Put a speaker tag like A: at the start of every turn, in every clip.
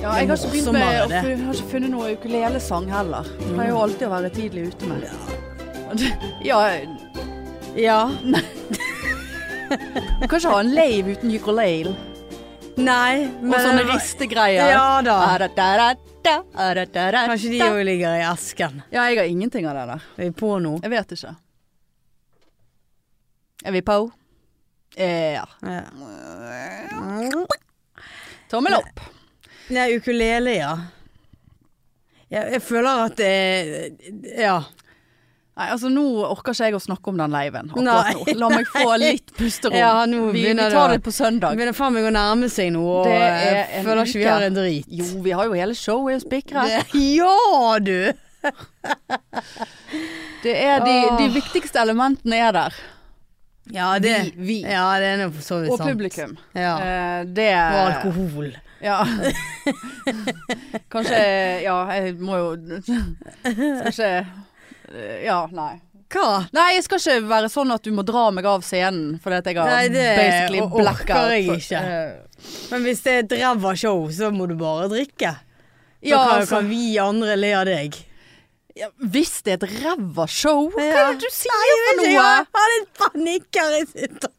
A: jeg har ikke begynt med
B: morsommere,
A: å-
B: det. Mm.
A: jeg har ikke funnet noe ukulelesang heller. Jeg pleier jo alltid å være tidlig ute med. Ja,
B: Ja.
A: du kan ikke ha en lave uten ukulele.
B: Nei, men
A: Og sånne ristegreier.
B: Ja da.
A: Adadadada, adadadada.
B: Kanskje de òg ligger i esken.
A: Ja, jeg har ingenting av det der.
B: Er vi på nå?
A: Jeg vet ikke. Er vi på? Eh, Ja.
B: Ja.
A: Tommel opp.
B: Nei, ukulele, ja. Jeg, jeg føler at det Ja.
A: Nei, altså Nå orker ikke jeg å snakke om den leiven akkurat
B: Nei.
A: nå. La meg få litt pusterom.
B: Ja, nå
A: vi, vi
B: begynner
A: tar
B: det.
A: det på søndag.
B: Begynner faen meg å nærme seg noe, og
A: Det er
B: jeg
A: en
B: føler ikke vi
A: uke.
B: har en drit.
A: Jo, vi har jo hele showet spikret.
B: Det, ja, du!
A: Det er de,
B: Åh.
A: de viktigste elementene er der.
B: Ja, det,
A: Vi, vi.
B: Ja, det er nå for så vidt
A: Og
B: sant.
A: publikum.
B: Ja.
A: Eh, det
B: Og alkohol.
A: Ja. Kanskje Ja, jeg må jo Skal ikke eh, Ja, nei.
B: Hva?
A: Nei, jeg skal ikke være sånn at du må dra meg av scenen fordi at jeg har
B: Nei, det
A: basically
B: orker
A: blackout. Eh,
B: jeg ikke. Men hvis det er et ræva show, så må du bare drikke. Så
A: Ja,
B: kan,
A: altså,
B: kan vi andre le av deg.
A: ja, hvis det er et ræva show, hva
B: Ja.
A: er det du sier for
B: Jeg
A: noe?
B: har hatt en panikk her jeg sitter.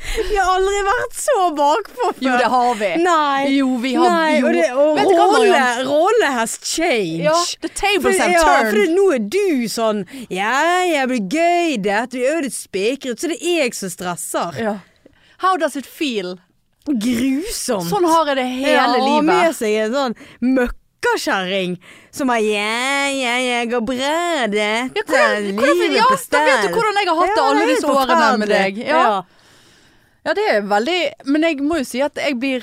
B: Vi har aldri vært så bakpå før.
A: Jo, det har vi.
B: Nei.
A: Jo, vi har
B: Nei,
A: jo.
B: og, det, og
A: Vet du hva,
B: rolle,
A: Marianne?
B: rolle has changed.
A: Ja, the tables
B: for,
A: have
B: ja,
A: turned.
B: for det- nå er du sånn Ja, jeg blir gøy, dette. Vi er jo litt spikret, så det er jeg som stresser.
A: Ja. How does it feel?
B: Grusomt.
A: Sånn har jeg det hele
B: ja, Og med
A: livet.
B: seg en sånn møkkakjerring som er Ja, ja, jeg går bra, dette.
A: Ja, hvordan, hvordan, ja, da vet du hvordan jeg har hatt det alle disse årene med deg. Ja. Ja, det er veldig Men jeg må jo si at jeg blir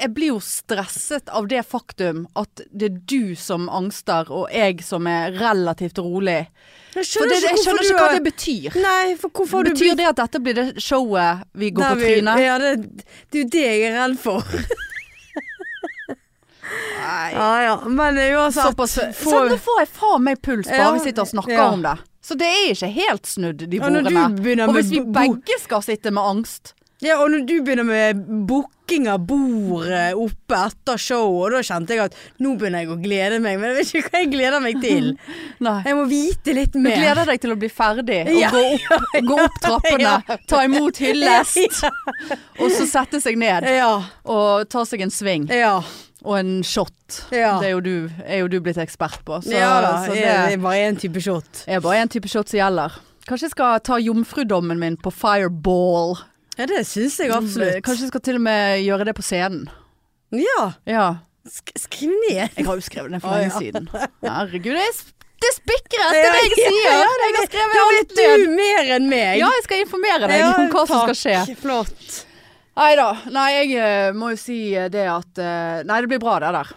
A: jeg blir jo stresset av det faktum at det er du som angster, og jeg som er relativt rolig.
B: Jeg
A: For det, jeg skjønner ikke hva det betyr.
B: Nei, for hvorfor har du
A: Betyr det at dette blir det showet vi går på trynet?
B: Ja, det, det er jo det jeg er redd for.
A: Nei.
B: Ja ja, men uansett
A: Såpass eh, sånn- Så
B: får-
A: nå får jeg faen meg puls bare
B: Ja,
A: vi sitter og snakker
B: ja.
A: om det. Så det er ikke helt snudd, de
B: Og når du
A: bordene.
B: begynner
A: Og
B: med
A: hvis vi
B: bo-
A: begge skal sitte med angst
B: Ja, og når du begynner med booking av bordet oppe etter show, og da kjente jeg at nå begynner jeg å glede meg, men jeg vet ikke hva jeg gleder meg til.
A: Nei.
B: Jeg må vite litt
A: Du
B: mer.
A: gleder deg til å bli ferdig og
B: Ja.
A: gå, opp, gå opp trappene, ta imot hyllest, og så sette seg ned
B: Ja.
A: og ta seg en sving
B: Ja.
A: og en shot.
B: Ja.
A: Det er jo, du, er jo du blitt ekspert på. Så,
B: ja da.
A: så
B: det er
A: det
B: bare én type shot.
A: er bare én type shot som gjelder. Kanskje jeg skal ta jomfrudommen min på fireball.
B: Ja, det syns jeg
A: Kanskje jeg skal til og med gjøre det på scenen.
B: Ja.
A: Ja.
B: Sk skriv ned.
A: Jeg har jo skrevet den for
B: Å, ja.
A: lenge siden. Herregud, det er, s- det er spikret, det er det jeg sier!
B: Ja,
A: Jeg har skrevet
B: Da
A: alt
B: vet
A: ned.
B: du mer enn meg.
A: Ja, jeg skal informere deg om hva som skal skje.
B: Takk. Flott.
A: Nei da. Nei, jeg eh, må jo si eh, det at eh, Nei, det blir bra, det der.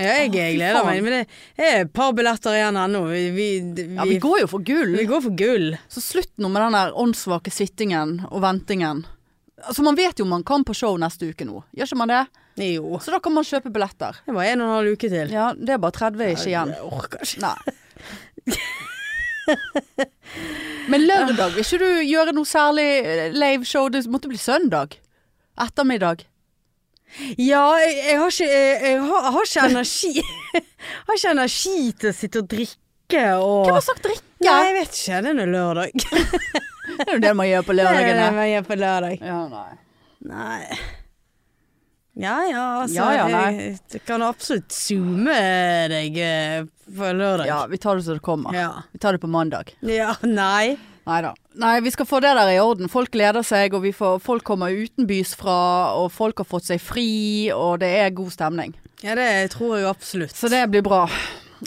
B: Ja, jeg,
A: Å, fy
B: gleder meg,
A: faen.
B: men det er et par billetter igjen ennå. Vi, vi,
A: Ja, Vi går jo for gull.
B: vi går for gull.
A: Så slutt nå med den der åndssvake sittingen og ventingen. Altså, Man vet jo man kan på show neste uke nå, gjør ikke man det?
B: Jo.
A: Så da kan man kjøpe billetter.
B: Det var en og en halv uke til.
A: Ja, det er bare 30 ikke igjen.
B: Jeg orker ikke.
A: Nei. Men lørdag, vil ikke du gjøre noe særlig eh, live-show? Det måtte bli søndag. Ettermiddag.
B: Ja, jeg, jeg, har ikke, jeg, jeg, har, jeg har ikke energi Jeg har ikke energi til å sitte og drikke og
A: Hvem har sagt drikke?
B: Nei, jeg vet ikke. Det er nå lørdag.
A: Det er jo det man gjør på lørdagene.
B: Hva gjør på lørdag?
A: Ja, nei.
B: Nei Ja ja, altså.
A: Ja, ja, nei.
B: jeg, jeg kan absolutt zoome deg eh, på lørdag.
A: Ja, vi tar det som det kommer.
B: Ja.
A: Vi tar det på mandag.
B: ja nei.
A: Nei da. Nei, vi skal få det der i orden. Folk gleder seg, og vi får, folk kommer utenbys fra, og folk har fått seg fri, og det er god stemning.
B: Ja, det tror jeg absolutt.
A: Så det blir bra.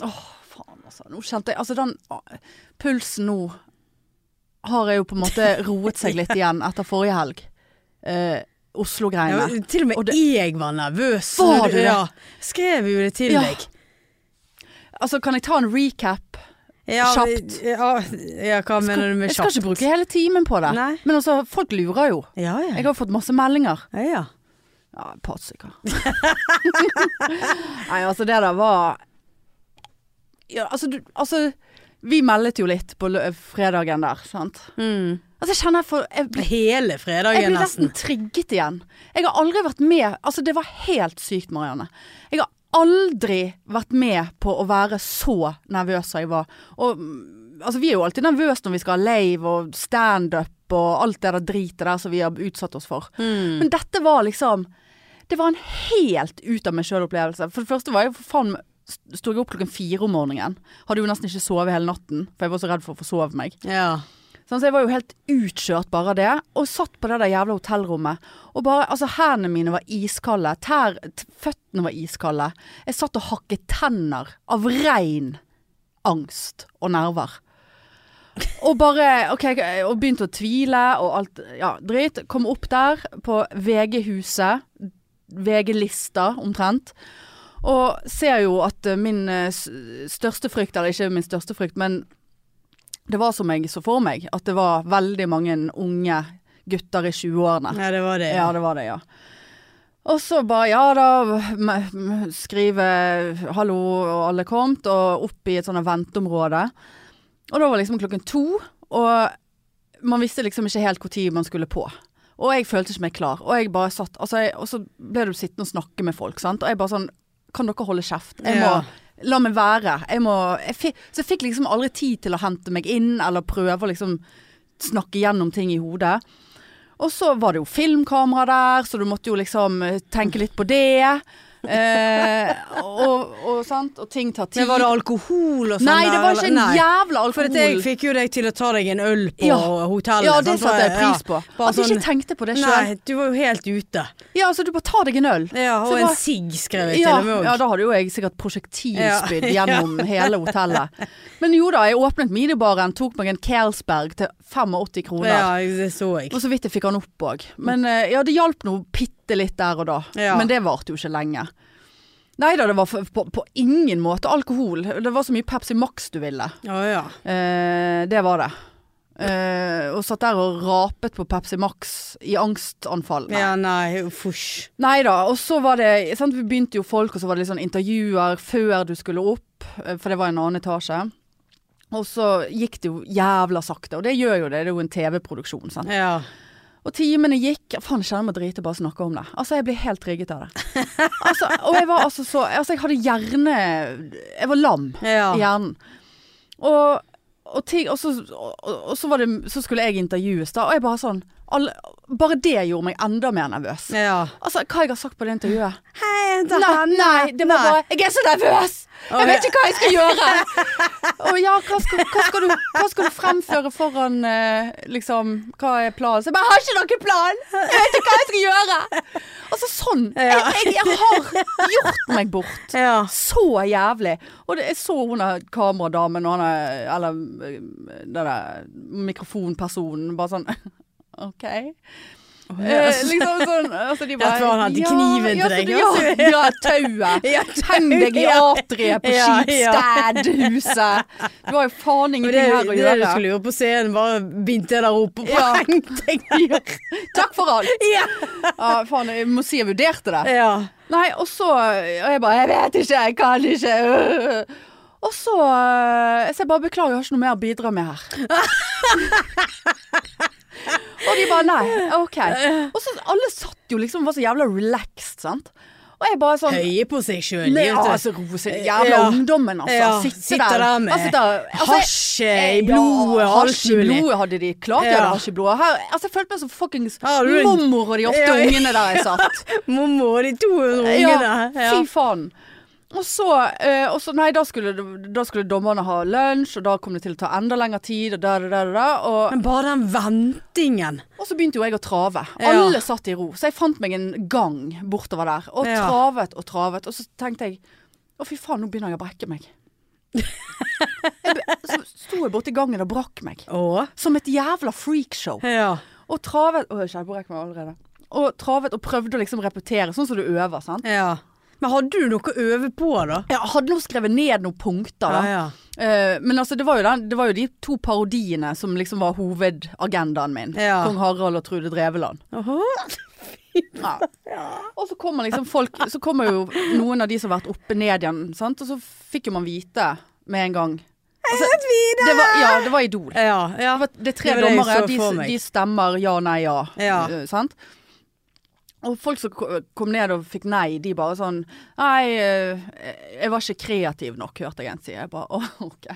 A: Åh, faen altså. Nå kjente jeg Altså, den ah, pulsen nå har jeg jo på en måte roet seg litt igjen etter forrige helg. Eh,
B: Ja,
A: Oslo-greiene.
B: til og med
A: Og det-
B: jeg var nervøs.
A: Var
B: når
A: du det?
B: Ja, skrev jo det til
A: Ja.
B: deg.
A: Altså, kan jeg ta en recap?
B: Ja,
A: Kjapt.
B: Ja, ja, hva mener du med
A: Jeg skal
B: kjapt?
A: ikke bruke hele timen på det.
B: Nei.
A: Men altså, folk lurer jo.
B: Ja, ja.
A: Jeg har fått masse meldinger.
B: Ja, ja.
A: Ja, et par stykker. Nei, altså det der var ja, altså, du, altså Vi meldet jo litt på lø- fredagen der, sant.
B: Mm.
A: Altså, jeg kjenner jeg får Jeg blir,
B: Hele
A: jeg
B: fredagen,
A: blir nesten
B: nesten.
A: trigget igjen. Jeg har aldri vært med Altså, det var helt sykt, Marianne. Jeg har aldri vært med på å være så nervøs som jeg var. Og mm, altså, vi er jo alltid nervøse når vi skal ha lave og standup og alt det der dritet der som vi har utsatt oss for.
B: Mm.
A: Men dette var liksom Det var en helt ut av meg sjøl-opplevelse. For det første var jeg for faen Sto jeg opp klokken fire om morgenen. Hadde jo nesten ikke sovet hele natten, for jeg var så redd for å forsove meg.
B: Ja.
A: Sånn, så jeg var jo helt utkjørt bare av det, og satt på det der jævla hotellrommet. Og bare, altså Hendene mine var iskalde, tær, t føttene var iskalde. Jeg satt og hakket tenner av rein angst og nerver. Og bare ok, og begynte å tvile og alt ja, dritt. Kom opp der på VG-huset. VG-lista, omtrent. Og ser jo at eh, min eh, s- største frykt, eller ikke min største frykt, men det var som jeg så for meg. At det var veldig mange unge gutter i 20-årene.
B: ja, det var det.
A: Ja, det var det, ja. Og så bare ja da, m- m- skrive 'hallo, og alle kommet', og opp i et sånt venteområde. Og da var liksom klokken to, og man visste liksom ikke helt når man skulle på. Og jeg følte ikke meg klar, og jeg bare satt altså jeg, Og så ble du sittende og snakke med folk, sant. Og jeg bare sånn Kan dere holde kjeft? Jeg må
B: Ja.
A: La meg være. Jeg må jeg fi- Så jeg fikk liksom aldri tid til å hente meg inn, eller prøve å liksom snakke gjennom ting i hodet. Og så var det jo filmkamera der, så du måtte jo liksom eh, tenke litt på det. Eh, og, og, sant? og ting tar tid.
B: Men var det alkohol og sånn?
A: Nei, det
B: der,
A: var ikke en
B: eller? Nei.
A: jævla
B: For at jeg
A: alkohol.
B: fikk jo deg til å ta deg en øl på
A: Ja.
B: hotellet.
A: Ja, det
B: sant?
A: satte jeg pris på.
B: liksom, Ja, bare
A: At jeg
B: sånn-
A: ikke tenkte på det sjøl.
B: Nei, du var jo helt ute.
A: Ja, altså du bare tar deg en øl.
B: Ja,
A: Så
B: og en
A: bare-
B: sigg skrev jeg
A: Ja,
B: til og med òg.
A: ja, da hadde jo jeg sikkert prosjektilspydd gjennom hele hotellet. Men jo da, jeg åpnet minibaren, tok meg en Carlsberg til 85 kroner.
B: Ja, det så jeg.
A: Og så vidt jeg fikk han opp òg. Men eh, ja, det hjalp nå bitte litt der og da.
B: Ja.
A: Men det varte jo ikke lenge. Nei da, det var f- på, på ingen måte alkohol. Det var så mye Pepsi Max du ville.
B: Å ja.
A: Eh, det var det. Eh, og satt der og rapet på Pepsi Max i angstanfall. Nei.
B: Ja, nei, fysj.
A: Nei da, og så var det sant, Vi begynte jo folk, og så var det litt sånn intervjuer før du skulle opp, eh, for det var en annen etasje. Og så gikk det jo jævla sakte, og det gjør jo det. Det er jo en TV-produksjon. sant?
B: Ja.
A: Og timene gikk Faen, jeg kjenner meg drite bare å snakke om det. Altså, jeg ble helt trigget av det. Altså, og jeg var altså så Altså, jeg hadde hjerne Jeg var lam
B: ja.
A: i hjernen. Og, og, ting, og, så, og, og så, var det, så skulle jeg intervjues, da, og jeg bare sånn alle, Bare det gjorde meg enda mer nervøs.
B: ja.
A: Altså, hva jeg har sagt på det intervjuet?
B: Hei, jenta.
A: Nei, nei det var bare Jeg er så nervøs! Jeg vet ikke hva jeg skal gjøre! Og ja, hva skal, hva skal, du, hva skal du fremføre foran eh, liksom Hva er planen? Så jeg bare, jeg har ikke noen plan! Jeg vet ikke hva jeg skal gjøre! Altså sånn. Jeg, jeg, jeg har gjort meg bort.
B: Ja.
A: Så jævlig. Og det, jeg så hun der kameradamen og han der- Eller eh, den der mikrofonpersonen bare sånn OK. Eh, liksom sånn altså
B: Ja,
A: de bare,
B: for han hadde kniven
A: ja,
B: til deg, altså.
A: Ja, så de- ja, ja tauet.
B: Ja,
A: Heng deg i
B: ja.
A: atriet på
B: Ja, ja.
A: Skipstad-huset. Du har jo faen
B: Men Det
A: ingenting
B: er jo
A: her
B: det
A: å
B: du
A: gjøre.
B: skulle gjøre på scenen, bare bindt det der oppe.
A: Ja.
B: Ja.
A: Takk for alt.
B: ja.
A: Ja, faen, jeg må si jeg vurderte det.
B: ja.
A: Nei, og så Og jeg bare Jeg vet ikke, jeg kan ikke. øh. Og så øh, Så jeg bare beklager, jeg har ikke noe mer å bidra med her. og de bare nei, OK. Og så alle satt jo liksom var så jævla relaxed, sant. Og jeg bare sånn
B: Høye på seg sjøl.
A: Nei, altså, rose, jævla
B: Ja.
A: ungdommen, altså.
B: Ja,
A: Sitte
B: sitter der med
A: Bare sitte altså,
B: Hasj eh, i blodet
A: ja,
B: og alt
A: hasj i
B: mulig.
A: blodet hadde de klart. Jeg
B: Ja.
A: hadde hasj i blodet. Her, altså, jeg følte meg som fuckings
B: Ja, du-
A: mormor og de åtte
B: Ja, ja.
A: ungene der jeg satt.
B: Mormor og de 200 ungene.
A: Ja,
B: Ja.
A: fy faen. Og så, eh, og så Nei, da skulle, da skulle dommerne ha lunsj, og da kom det til å ta enda lengre tid, og da, da, da, da, da. Og,
B: Men bare den ventingen.
A: og så begynte jo jeg å trave.
B: Ja.
A: Alle satt i ro. Så jeg fant meg en gang bortover der, og
B: Ja.
A: travet og travet. Og så tenkte jeg å, fy faen, nå begynner jeg å brekke meg. jeg, be- så sto jeg borti gangen og brakk meg.
B: Å?
A: Som et jævla freakshow.
B: Ja.
A: Og travet Å, jeg skjelvbrekk meg allerede. Og travet og prøvde å liksom repetere, sånn som du øver, sant.
B: ja. Men hadde du noe å øve på, da?
A: Jeg hadde nå skrevet ned noen punkter. Da.
B: Ja, ja.
A: Eh, men altså, det, var jo den, det var jo de to parodiene som liksom var hovedagendaen min.
B: Ja.
A: Kong Harald og Trude Dreveland.
B: Aha.
A: Ja. Og så kommer liksom folk Så kommer jo noen av de som har vært oppe ned igjen, sant? og så fikk jo man vite med en gang Altså, det var, ja, det var Idol.
B: Ja, ja.
A: Det, er tre
B: Det var det jeg
A: dommere,
B: så for
A: de,
B: meg.
A: de stemmer ja, nei, ja.
B: Ja.
A: Eh, sant? Og folk som ko- kom ned og fikk nei, de bare sånn Nei, eh, jeg var ikke kreativ nok, hørte jeg en si. Jeg bare åh, OK.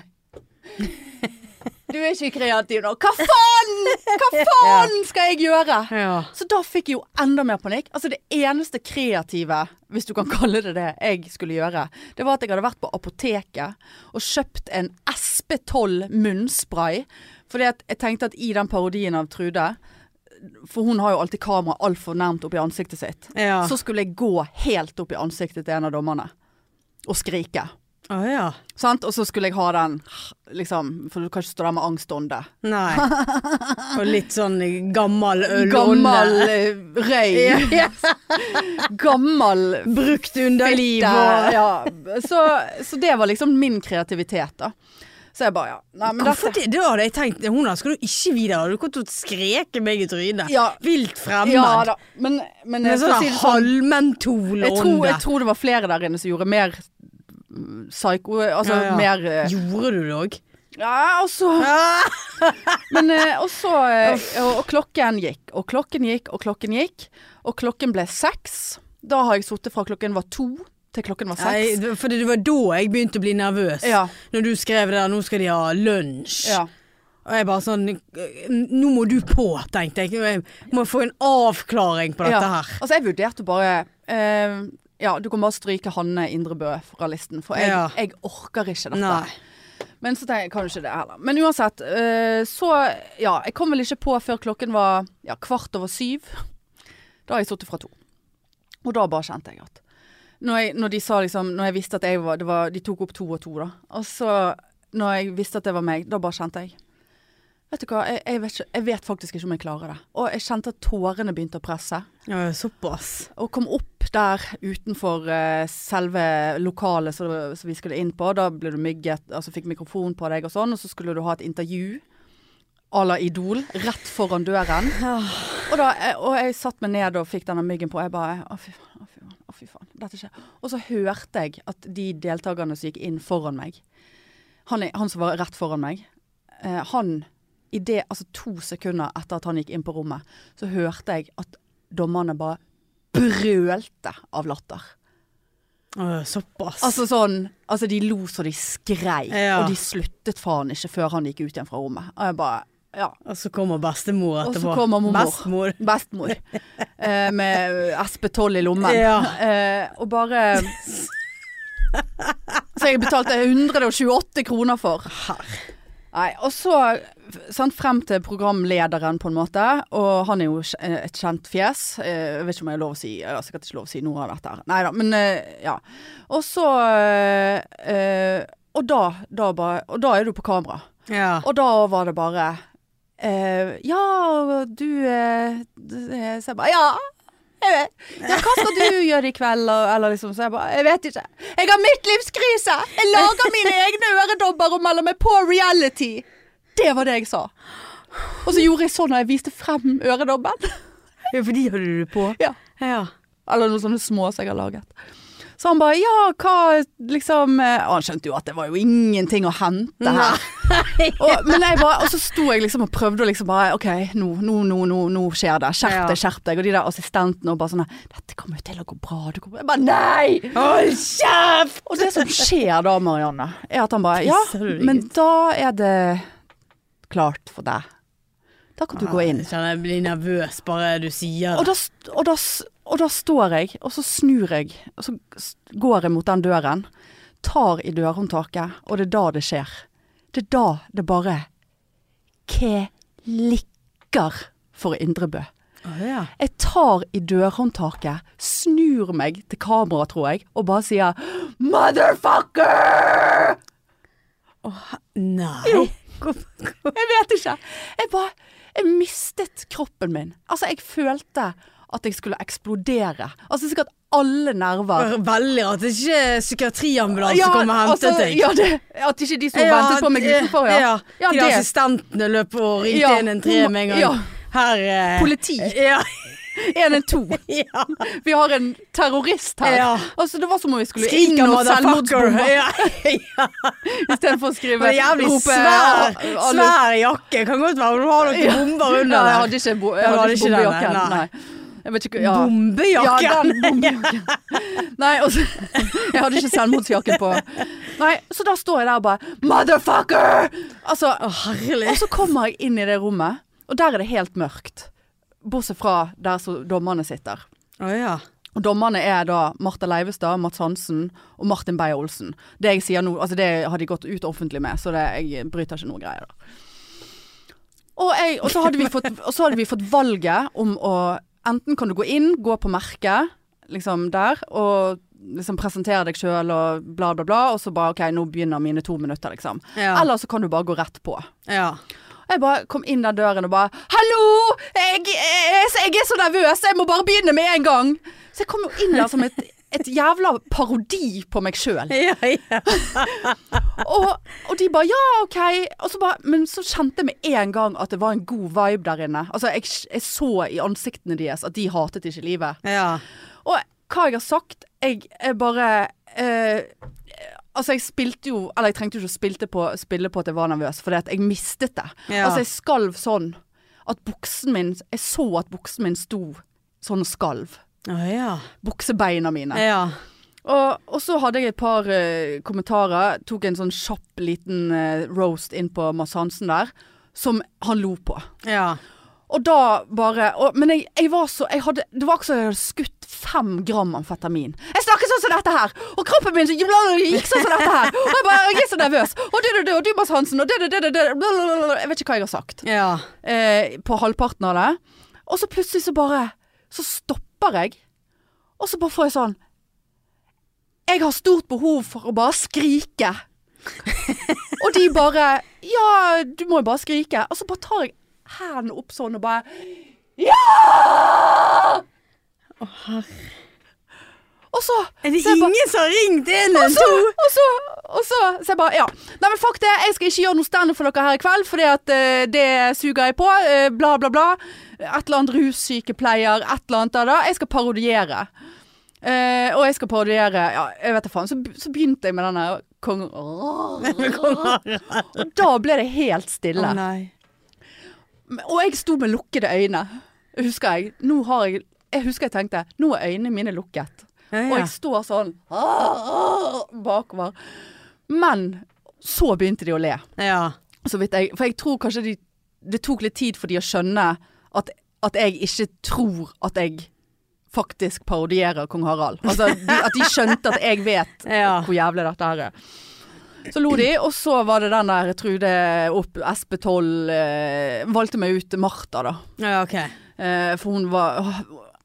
A: Du er ikke kreativ nok. Hva faen! Hva faen skal jeg gjøre?
B: ja.
A: Så da fikk jeg jo enda mer panikk. Altså det eneste kreative, hvis du kan kalle det det, jeg skulle gjøre, det var at jeg hadde vært på apoteket og kjøpt en SP12 munnspray. Fordi at jeg tenkte at i den parodien av Trude, for hun har jo alltid kamera altfor nærmt oppi ansiktet sitt,
B: Ja.
A: så skulle jeg gå helt opp i ansiktet til en av dommerne og skrike.
B: Å, ja.
A: Sant? Og så skulle jeg ha den, liksom, for du kan ikke stå der med angstånde.
B: Nei. Og litt sånn gammel øl.
A: Gammel eh, røy. Gammel
B: Brukt underliv
A: fitte,
B: og
A: ja. så, så det var liksom min kreativitet, da. Så jeg bare ja. Nei, men
B: Hvorfor
A: dette
B: det? Det hadde jeg tenkt. Hun her skal du ikke videre. Du kom til å skreke meg i trynet.
A: Ja.
B: Vilt fremmed.
A: Ja da. Men, men
B: Med
A: jeg,
B: sånn
A: skal si det sånn, jeg, tror,
B: halvmentolånde.
A: jeg tror det var flere der inne som gjorde mer mm, psycho Altså
B: Ja, ja.
A: mer eh,
B: Gjorde du det òg?
A: Ja, og så Ah, Men eh, og så eh, og, og klokken gikk, og klokken gikk, og klokken gikk. Og klokken ble seks. Da har jeg sittet fra klokken var to til klokken var
B: Nei,
A: seks.
B: det- for det var da jeg begynte å bli nervøs.
A: Ja.
B: Når du skrev det der 'nå skal de ha lunsj'.
A: Ja.
B: Og jeg bare sånn Nå må du på, tenkte jeg. Jeg må få en avklaring på dette her.
A: Altså, jeg vurderte bare eh, Ja, du kan bare stryke Hanne Indrebø fra listen, for jeg,
B: Ja.
A: jeg orker ikke dette.
B: Nei.
A: Men så tenker jeg kan jo ikke det heller. Men uansett, eh, så Ja, jeg kom vel ikke på før klokken var ja, kvart over syv. Da har jeg sittet fra to. Og da bare kjente jeg at Når, jeg, når de sa liksom Når jeg visste at jeg var, det var De tok opp to og to, da. Og så Når jeg visste at det var meg, da bare kjente jeg Vet du hva, jeg, jeg, vet, ikke, jeg vet faktisk ikke om jeg klarer det. Og jeg kjente at tårene begynte å presse.
B: Ja, såpass.
A: Og kom opp der utenfor eh, selve lokalet som som vi skulle inn på. Da ble du mygget, altså fikk mikrofon på deg og sånn, og så skulle du ha et intervju à la Idol rett foran døren. Og, da, eh, og jeg satt meg ned og fikk denne myggen på, og jeg bare Å, fy faen. Å, fy faen. Å, fy faen. Dette skjer. Og så hørte jeg at de deltakerne som gikk inn foran meg Han, er- han som var rett foran meg, eh, han i det, altså to sekunder etter at han gikk inn på rommet, så hørte jeg at dommerne bare brølte av latter.
B: Å, såpass.
A: Altså sånn Altså de lo så de skreik,
B: Ja.
A: og de sluttet faen ikke før han gikk ut igjen fra rommet. Og jeg bare Ja.
B: og så kommer bestemor
A: Og
B: etterpå.
A: så kommer mormor.
B: Bestemor.
A: Bestemor. Eh, med SP12 i lommen.
B: Ja.
A: Eh, og bare Så jeg betalte 128 kroner for. Nei, og så sant, frem til programlederen, på en måte. Og han er jo kj- eh, et kjent fjes. Eh, Jeg vet ikke om jeg har lov å si Jeg har sikkert ikke lov å si noe av dette her. Nei da, men eh, ja. Og så eh, eh, Og da, da bare Og da er du på kamera.
B: Ja.
A: Og da var det bare eh, Ja, og du eh, d- eh», Så jeg bare Ja! Jeg vet. Ja, hva skal du gjøre i kveld? Og, eller liksom, så jeg bare Jeg vet ikke. Jeg har midtlivskrise! Jeg lager mine egne øredobber og melder meg på reality! Det var det jeg sa. Og så gjorde jeg sånn da jeg viste frem øredobben.
B: ja, for de holder du på.
A: Ja.
B: Ja.
A: Eller noen sånne små som jeg har laget. Så han bare ja, hva liksom eh, Og han skjønte jo at det var jo ingenting å hente her. Og, men jeg bare, og så sto jeg liksom og prøvde å liksom bare OK, nå, nå, nå, nå, nå skjer det. Skjerp deg, skjerp deg. Og de der assistentene og bare sånn Dette kommer jo til å gå bra. Du kommer Jeg bare nei!
B: Hold kjeft!
A: Og det som skjer da, Marianne, er at han bare Ja,
B: Pisser du deg
A: men da er det klart for deg. Da kan du gå inn.
B: Jeg kjenner jeg blir nervøs bare du sier
A: Og
B: det.
A: da, st- og, da, s- og da står jeg, og så snur jeg, og så s- går jeg mot den døren, tar i dørhåndtaket, og det er da det skjer. Det er da det bare klikker for Indrebø.
B: Å, ja.
A: Jeg tar i dørhåndtaket, snur meg til kamera, tror jeg, og bare sier 'motherfucker'!
B: Nei.
A: Jo.
B: Kom- kom-
A: Jeg vet ikke. Jeg bare Jeg mistet kroppen min. Altså, jeg følte at jeg skulle eksplodere. Altså sikkert alle nerver
B: Veldig rart. Det er ikke psykiatriambulanse
A: Ja,
B: som kommer og henter
A: altså,
B: deg.
A: Ja, det, at ikke de som ventet på meg
B: eh,
A: utenfor, ja.
B: ja.
A: Ja,
B: de der
A: det.
B: assistentene løp og ringte
A: Ja.
B: inn en tre med en gang.
A: Ja.
B: Her eh,
A: Politi.
B: Ja.
A: En er to.
B: Ja.
A: Vi har en terrorist her.
B: Ja.
A: Altså, det var som om vi skulle inn
B: Skriker
A: og
B: motherfucker.
A: selvmordsbombe
B: Ja, ja.
A: istedenfor å skrive
B: Men en jævlig
A: rope,
B: svær,
A: "Ah, ah,
B: svær jakke. Kan godt være hun har
A: Ja.
B: noen bomber
A: Ja,
B: under
A: jeg
B: der.
A: hadde ikke, bo jeg
B: Ja, du
A: hadde
B: hadde
A: ikke
B: ikke den,
A: bombejakken.
B: nei.
A: Nei. Jeg vet ikke, ja. Ja,
B: Bombejakke.
A: den bombejakken. Nei, altså, jeg hadde ikke selvmordsjakken på. Nei, så da står jeg der og bare Motherfucker! Altså,
B: Å, herlig.
A: og så kommer jeg inn i det rommet, og der er det helt mørkt. Bortsett fra der som dommerne sitter.
B: Å ja.
A: Og dommerne er da Marta Leivestad, Mats Hansen og Martin Beyer-Olsen. Det jeg sier nå, altså det har de gått ut offentlig med, så det, jeg bryter ikke noe greier. da. Og, jeg, og, så hadde vi fått, og så hadde vi fått valget om å Enten kan du gå inn, gå på merket, liksom der, og liksom presentere deg sjøl og bla, bla, bla, og så bare OK, nå begynner mine to minutter, liksom.
B: Ja.
A: Eller så kan du bare gå rett på.
B: ja.
A: Og Jeg bare kom inn den døren og bare 'Hallo! Jeg, jeg, jeg er så nervøs! Jeg må bare begynne med en gang!' Så jeg kom jo inn der som et, et jævla parodi på meg sjøl.
B: Ja, ja.
A: Og, og de bare 'ja, ok'. Og så bare, men så kjente jeg med en gang at det var en god vibe der inne. Altså, jeg, jeg så i ansiktene deres at de hatet ikke livet.
B: ja.
A: Og hva jeg har sagt Jeg, jeg bare eh, Altså jeg spilte jo Eller jeg trengte jo ikke å spilte på, spille på at jeg var nervøs Fordi at jeg mistet det
B: Ja.
A: Altså jeg skalv sånn At buksen min Jeg så at buksen min sto Sånn og skalv
B: Å ja.
A: Buksebeina mine
B: Ja.
A: og, og så hadde jeg et par eh, kommentarer Tok en sånn kjapp liten eh, roast inn på Mads Hansen der Som han lo på
B: Ja.
A: og da bare og, Men jeg, jeg var så jeg hadde, Det var akkurat som jeg hadde skutt fem gram amfetamin. Jeg snakket sånn som dette her, og kroppen min gikk sånn som dette her. Og jeg bare jeg er så nervøs. Og du, du, du, og du, Mads Hansen, og du, du, du, du, du blablabla. Jeg vet ikke hva jeg har sagt.
B: Ja.
A: Eh, på halvparten av det. Og så plutselig så bare Så stopper jeg, og så bare får jeg sånn Jeg har stort behov for å bare skrike. og de bare Ja, du må jo bare skrike. Og så bare tar jeg hendene opp sånn og bare
B: Å, herre.
A: Og så
B: Er det
A: så jeg bare-
B: ingen som har ringt 112?
A: så, og så, og så, så jeg bare, ja. Nei, men fuck det, jeg skal ikke gjøre noe stand for dere her i kveld, fordi at eh, det suger jeg på, eh, bla bla bla. Et eller annet russykepleier, et eller annet der da. Jeg skal parodiere. Eh, og jeg skal parodiere, ja, jeg vet da faen. Så, be- så begynte jeg med denne kong... Og da ble det helt stille.
B: Å nei.
A: Og jeg sto med lukkede øyne, husker jeg. Nå har jeg, jeg husker jeg tenkte, nå er øynene mine lukket.
B: Ja, ja.
A: Og jeg står sånn «Åh, åh», bakover. Men så begynte de å le.
B: Ja.
A: Så vidt jeg, for jeg tror kanskje de, det tok litt tid for de å skjønne at, at jeg ikke tror at jeg faktisk parodierer kong Harald. Altså de, at de skjønte at jeg vet
B: Ja.
A: hvor jævlig dette her er. Så lo de, og så var det den der Trude opp SP12 eh, Valgte meg ut Martha, da.
B: Ja, OK.
A: Eh, for hun var åh,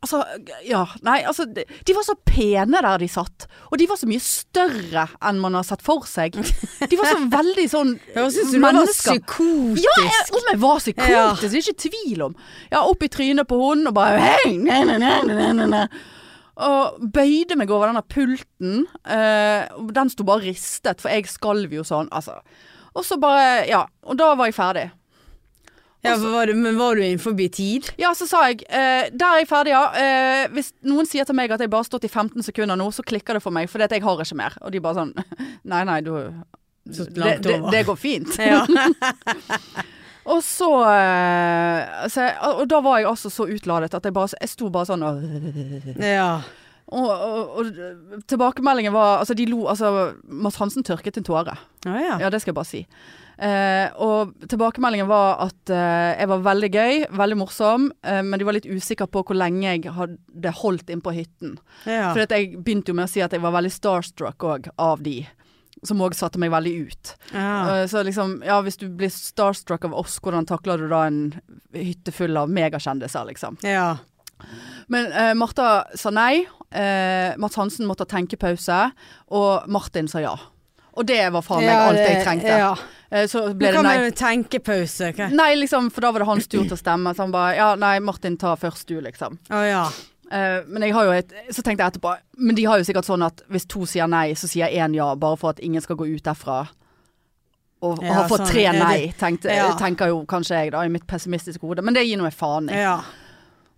A: Altså, ja. Nei, altså de, de var så pene der de satt. Og de var så mye større enn man har sett for seg. De var så veldig sånn
B: Høres ut som du var psykotisk.
A: Ja, jeg, om jeg var psykotisk,
B: Ja.
A: det er ikke tvil om. Ja, opp i trynet på hun og bare hei, ne, ne, ne, ne, ne, ne. Og bøyde meg over denne pulten. eh, og den sto bare ristet, for jeg skalv jo sånn, altså. Og så bare Ja. Og da var jeg ferdig.
B: Ja, for var du, men var du innenfor tid?
A: Ja, så sa jeg eh, Der er jeg ferdig, ja. Eh, hvis noen sier til meg at jeg bare har stått i 15 sekunder nå, så klikker det for meg, for jeg har ikke mer. Og de bare sånn Nei, nei, du
B: Stått
A: det,
B: langt
A: det,
B: over.
A: det går fint.
B: Ja.
A: Og så, eh, så jeg, Og da var jeg altså så utladet at jeg bare Jeg sto bare sånn og
B: ja.
A: Og, og, og tilbakemeldingen var Altså, de lo Altså, Mads Hansen tørket en tåre.
B: Å ja.
A: Ja, det skal jeg bare si. Eh, og tilbakemeldingen var at eh, jeg var veldig gøy, veldig morsom, eh, men de var litt usikre på hvor lenge jeg hadde holdt inn på hytten.
B: Ja.
A: For at jeg begynte jo med å si at jeg var veldig starstruck òg, av de. Som òg satte meg veldig ut.
B: ja.
A: Eh, så liksom, ja hvis du blir starstruck av oss, hvordan takler du da en hytte full av megakjendiser, liksom?
B: ja.
A: Men eh, Martha sa nei. Eh, Mats Hansen måtte ha tenkepause. Og Martin sa ja. Og det var faen meg
B: Ja,
A: alt jeg
B: det-
A: trengte.
B: Ja.
A: Eh, så
B: Nå
A: ble det
B: kan
A: nei.
B: man jo tenkepause. Å
A: Nei, liksom, for da var det hans tur til å stemme. Så han bare Ja, nei, Martin, ta først du, liksom.
B: ja.
A: Eh, men jeg har jo et Så tenkte jeg etterpå Men de har jo sikkert sånn at hvis to sier nei, så sier én ja, bare for at ingen skal gå ut derfra. Og, og
B: Ja,
A: har fått
B: sånn
A: tre
B: er det.
A: nei, tenkte,
B: Ja.
A: tenker jo kanskje jeg da, i mitt pessimistiske hode. Men det gir nå jeg faen i.
B: Ja.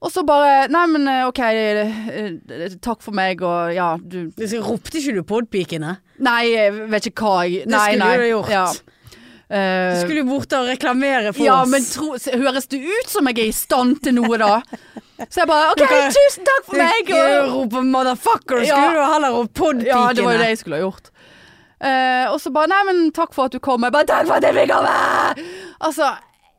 A: Og så bare Nei, men eh, OK, eh, eh, takk for meg, og ja, du
B: Det så Ropte ikke du podpikene?
A: Nei, jeg vet ikke hva jeg
B: Det
A: nei,
B: skulle
A: nei.
B: du ha gjort.
A: Ja.
B: Du
A: Eh,
B: skulle jo bort og reklamere for
A: ja,
B: oss.
A: men tro, se- høres det ut som jeg er i stand til noe da? Så jeg bare OK,
B: kan-
A: tusen takk for
B: Du
A: meg!
B: skulle
A: Og,
B: rope 'motherfucker',
A: Ja.
B: skulle du heller rope podpikene.
A: ja, det var jo det jeg skulle ha gjort. Eh, og så bare Nei, men takk for at du kom. Jeg bare Takk for at jeg fikk komme! Altså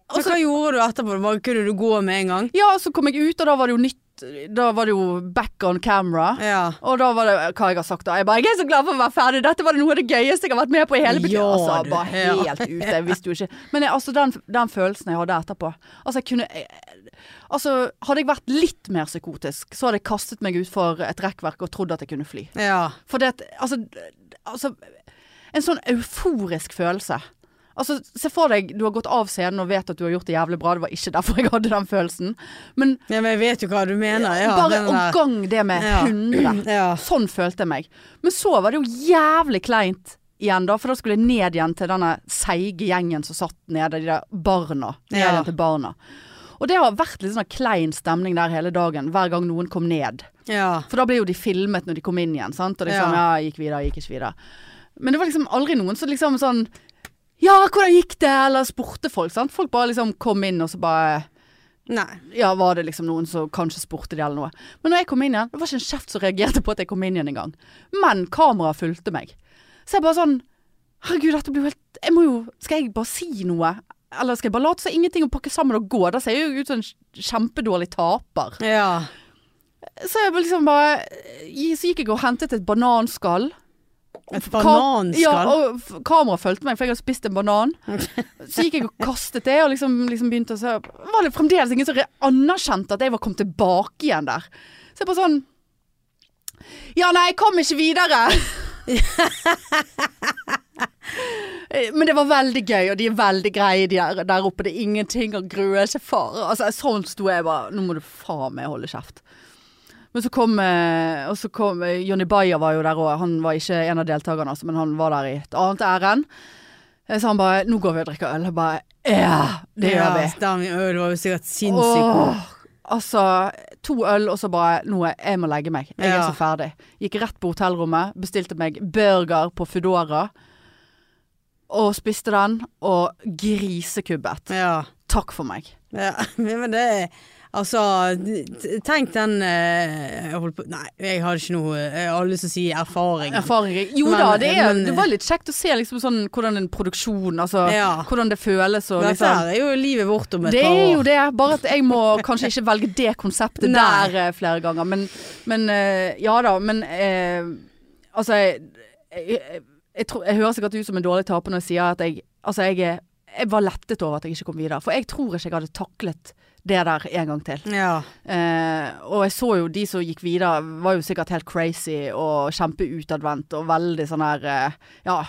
B: Så hva gjorde du etterpå? Bare Kunne du gå med en gang?
A: Ja, så kom jeg ut, og da var det jo nytt Da var det jo back on camera.
B: Ja.
A: Og da var det hva jeg har sagt da. Jeg bare 'Jeg er så glad for å være ferdig, dette var det noe av det gøyeste jeg har vært med på i hele mitt liv'.
B: Ja,
A: altså,
B: du.
A: bare
B: Ja.
A: helt ute. Jeg visste jo ikke Men jeg, altså, den, den følelsen jeg hadde etterpå Altså, jeg kunne jeg, Altså, hadde jeg vært litt mer psykotisk, så hadde jeg kastet meg utfor et rekkverk og trodd at jeg kunne fly.
B: Ja.
A: For det at Altså, altså En sånn euforisk følelse. Altså, Se for deg du har gått av scenen og vet at du har gjort det jævlig bra. Det var ikke derfor jeg hadde den følelsen. Men
B: ja, men jeg vet jo hva du mener. Ja,
A: bare
B: den
A: å
B: der-
A: gang det med
B: Ja.
A: 100.
B: Ja.
A: Sånn følte jeg meg. Men så var det jo jævlig kleint igjen, da. For da skulle jeg ned igjen til denne seige gjengen som satt nede, de der barna. Ned
B: Ja.
A: igjen til barna. Og det har vært litt sånn klein stemning der hele dagen, hver gang noen kom ned.
B: ja.
A: For da ble jo de filmet når de kom inn igjen, sant. Og liksom, ja,
B: Ja.
A: gikk videre, gikk ikke videre. Men det var liksom aldri noen som liksom sånn Ja, hvordan gikk det? Eller spurte folk, sant. Folk bare liksom kom inn og så bare
B: Nei.
A: ja, var det liksom noen som kanskje spurte de eller noe. Men når jeg kom inn igjen, det var ikke en kjeft som reagerte på at jeg kom inn igjen engang. Men kameraet fulgte meg. Så jeg bare sånn Herregud, dette blir jo helt Jeg må jo Skal jeg bare si noe? Eller skal jeg bare late som ingenting og pakke sammen og gå? Da ser jeg jo ut som en kjempedårlig taper.
B: Ja.
A: Så jeg bare liksom bare Så gikk jeg og hentet et bananskall.
B: Et
A: Ka-
B: bananskall.
A: Ja, og f- kameraet fulgte meg, for jeg hadde spist en banan. Så gikk jeg og kastet det, og liksom, liksom begynte å se Var det fremdeles ingen som re- anerkjente at jeg var kommet tilbake igjen der? Så jeg bare sånn Ja, nei, jeg kom ikke videre. Eh, Men det var veldig gøy, og de er veldig greie de der, der oppe. Det er ingenting å grue seg for. Altså, sånn sto jeg bare Nå må du faen meg holde kjeft. Men så kom, eh, og så kom eh, Johnny Bayer var jo der òg. Han var ikke en av deltakerne, altså, men han var der i et annet ærend. Eh, Så han bare 'Nå går vi og drikker øl'. Jeg bare 'Ja, det
B: ja,
A: gjør vi'.
B: Stemmer. Øl var jo sikkert sinnssykt.
A: Åh, altså, to øl, og så bare Nå, er- jeg må legge meg. Jeg er
B: Ja.
A: så ferdig. Gikk rett på hotellrommet, bestilte meg burger på Foodora. Og spiste den, og grisekubbet.
B: Ja.
A: Takk for meg.
B: ja. Men det er Altså, t- tenk den eh, jeg holdt på, Nei, jeg har ikke noe Jeg har lyst til å si erfaring.
A: Erfaring Jo
B: Men-
A: da, det, er,
B: men-
A: det var litt kjekt å se liksom sånn, hvordan en produksjon Altså
B: Ja.
A: hvordan det føles og
B: Dette
A: liksom
B: her er jo livet vårt om et
A: Det
B: par år.
A: er jo det, bare at jeg må kanskje ikke velge det konseptet
B: Nei.
A: der eh, flere ganger. Men, men eh, ja da, men eh, altså jeg, jeg, jeg, jeg, tror- jeg hører sikkert ut som en dårlig taper når jeg sier at jeg, altså, jeg, er- jeg var lettet over at jeg ikke kom videre. For jeg tror ikke jeg hadde taklet det der en gang til.
B: Ja.
A: Eh, og jeg så jo de som gikk videre, var jo sikkert helt crazy og kjempeutadvendt og veldig sånn her eh, Ja.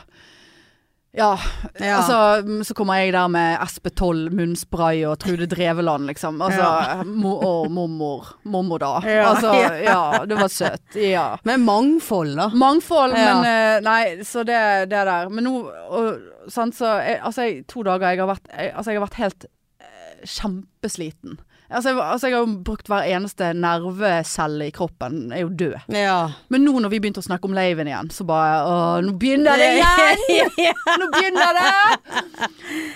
A: Ja.
B: Ja.
A: Altså, mm, så kommer jeg der med SP12, munnspray og Trude Dreveland, liksom. Altså,
B: Ja.
A: mo å, mormor. Mormor, da.
B: Ja.
A: Altså, ja, det var søtt. Ja.
B: Men mangfold, da.
A: Mangfold,
B: Ja.
A: men eh, Nei, så det, det der. Men nå og, sant, så jeg, Altså, jeg, to dager jeg har vært jeg, Altså, jeg har vært helt eh, kjempesliten. Altså jeg, var- altså, jeg har jo brukt hver eneste nervecelle i kroppen. Jeg er jo død.
B: Ja.
A: Men nå når vi begynte å snakke om laven igjen, så bare Å, nå begynner det igjen! Nå begynner det!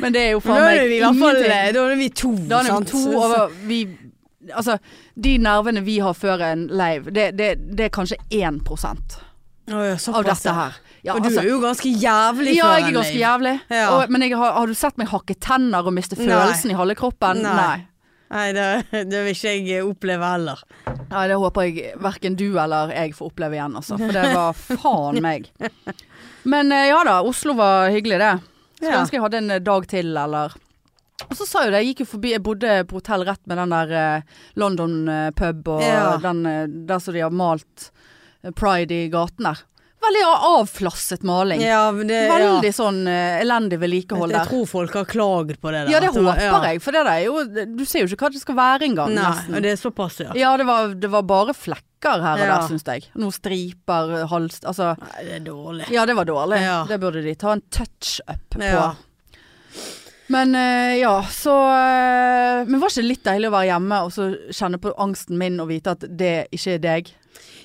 A: Men det er jo
B: Da
A: faen meg
B: er vi i hvert fall eh,
A: ingenting.
B: Da er vi to,
A: eh, Da er vi
B: sant?
A: to over vi, Altså, de nervene vi har før en lave, det, det, det er kanskje 1
B: Å ja,
A: av
B: såpass,
A: dette
B: ja.
A: her. Ja,
B: Og du
A: altså-
B: er jo ganske jævlig
A: ja,
B: før
A: jeg er
B: en
A: ganske
B: liv.
A: jævlig.
B: Ja.
A: Og, men jeg har, har du sett meg hakke tenner og miste
B: Nei.
A: følelsen i halve kroppen?
B: Nei.
A: Nei.
B: Nei, det, det vil ikke jeg oppleve heller.
A: Nei, det håper jeg verken du eller jeg får oppleve igjen, altså. For det var faen meg. Men eh, ja da, Oslo var hyggelig, det. Skulle
B: Ja.
A: ønske jeg hadde en eh, dag til, eller Og så sa jo det, jeg gikk jo forbi Jeg bodde på hotell rett med den der eh, London eh, pub og
B: Ja.
A: den eh, der som de har malt eh, pride i gaten der. Veldig avflasset maling.
B: Ja, men det, ja.
A: Veldig sånn eh, elendig
B: Jeg,
A: vedlikehold der.
B: jeg tror folk har klaget på det der.
A: Ja, det
B: At var-
A: håper
B: ja.
A: jeg, for det der er jo Du ser jo ikke hva det skal være engang.
B: Nei,
A: nesten.
B: og det er såpass, ja.
A: Ja, det var, det var bare flekker her og
B: Ja.
A: der, syns jeg. Noen striper, hals Altså,
B: Nei, det er dårlig.
A: ja, det var dårlig.
B: Ja.
A: Det burde de ta en touch-up på.
B: Ja.
A: Men eh, ja, så eh, Men var ikke det litt deilig å være hjemme og så kjenne på angsten min og vite at det ikke er deg?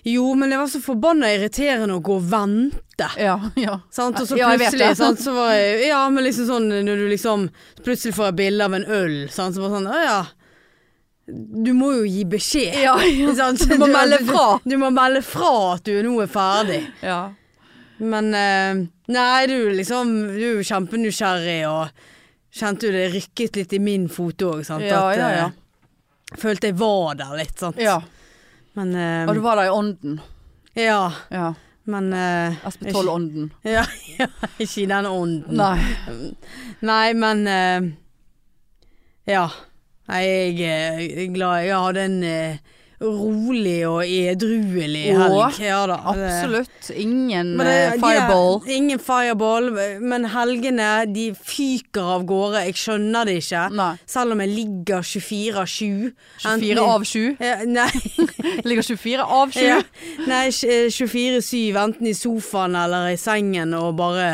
B: Jo, men det var så forbanna irriterende å gå og vente.
A: Ja, ja.
B: Sant? Og så
A: Ja, jeg vet
B: plutselig
A: det.
B: sant, så var jeg, Ja, men liksom sånn når du liksom Plutselig får jeg bilde av en øl, sant, så bare sånn Å ja. Du må jo gi beskjed.
A: Ja, ja.
B: Sant?
A: Du må melde fra.
B: Du, må melde fra at du nå er ferdig.
A: ja.
B: Men eh, Nei, du er liksom Du er jo kjempenysgjerrig og Kjente jo det rykket litt i min fot òg, sant.
A: Ja,
B: at,
A: ja, ja.
B: eh, Følte jeg var der litt, sant.
A: ja.
B: Men eh,
A: Og du var der i ånden.
B: Ja.
A: Ja.
B: Men eh, ikke-
A: SP12-ånden.
B: Ja, ja, ikke i den ånden. Nei,
A: Nei.
B: men eh, Ja. Nei, jeg er glad Jeg hadde en eh, rolig og edruelig
A: Åh,
B: helg. Ja da. det-
A: Absolutt ingen
B: Eh, Men det-
A: eh, fireball.
B: De, ingen fireball, men helgene de fyker av gårde. Jeg skjønner det ikke.
A: Nei.
B: Selv om jeg ligger 24 av 7.
A: 24 av 7.
B: ja, Nei,
A: Ligger 24 av 7.
B: ja. Nei, tj- eh, 24-7, enten i sofaen eller i sengen og bare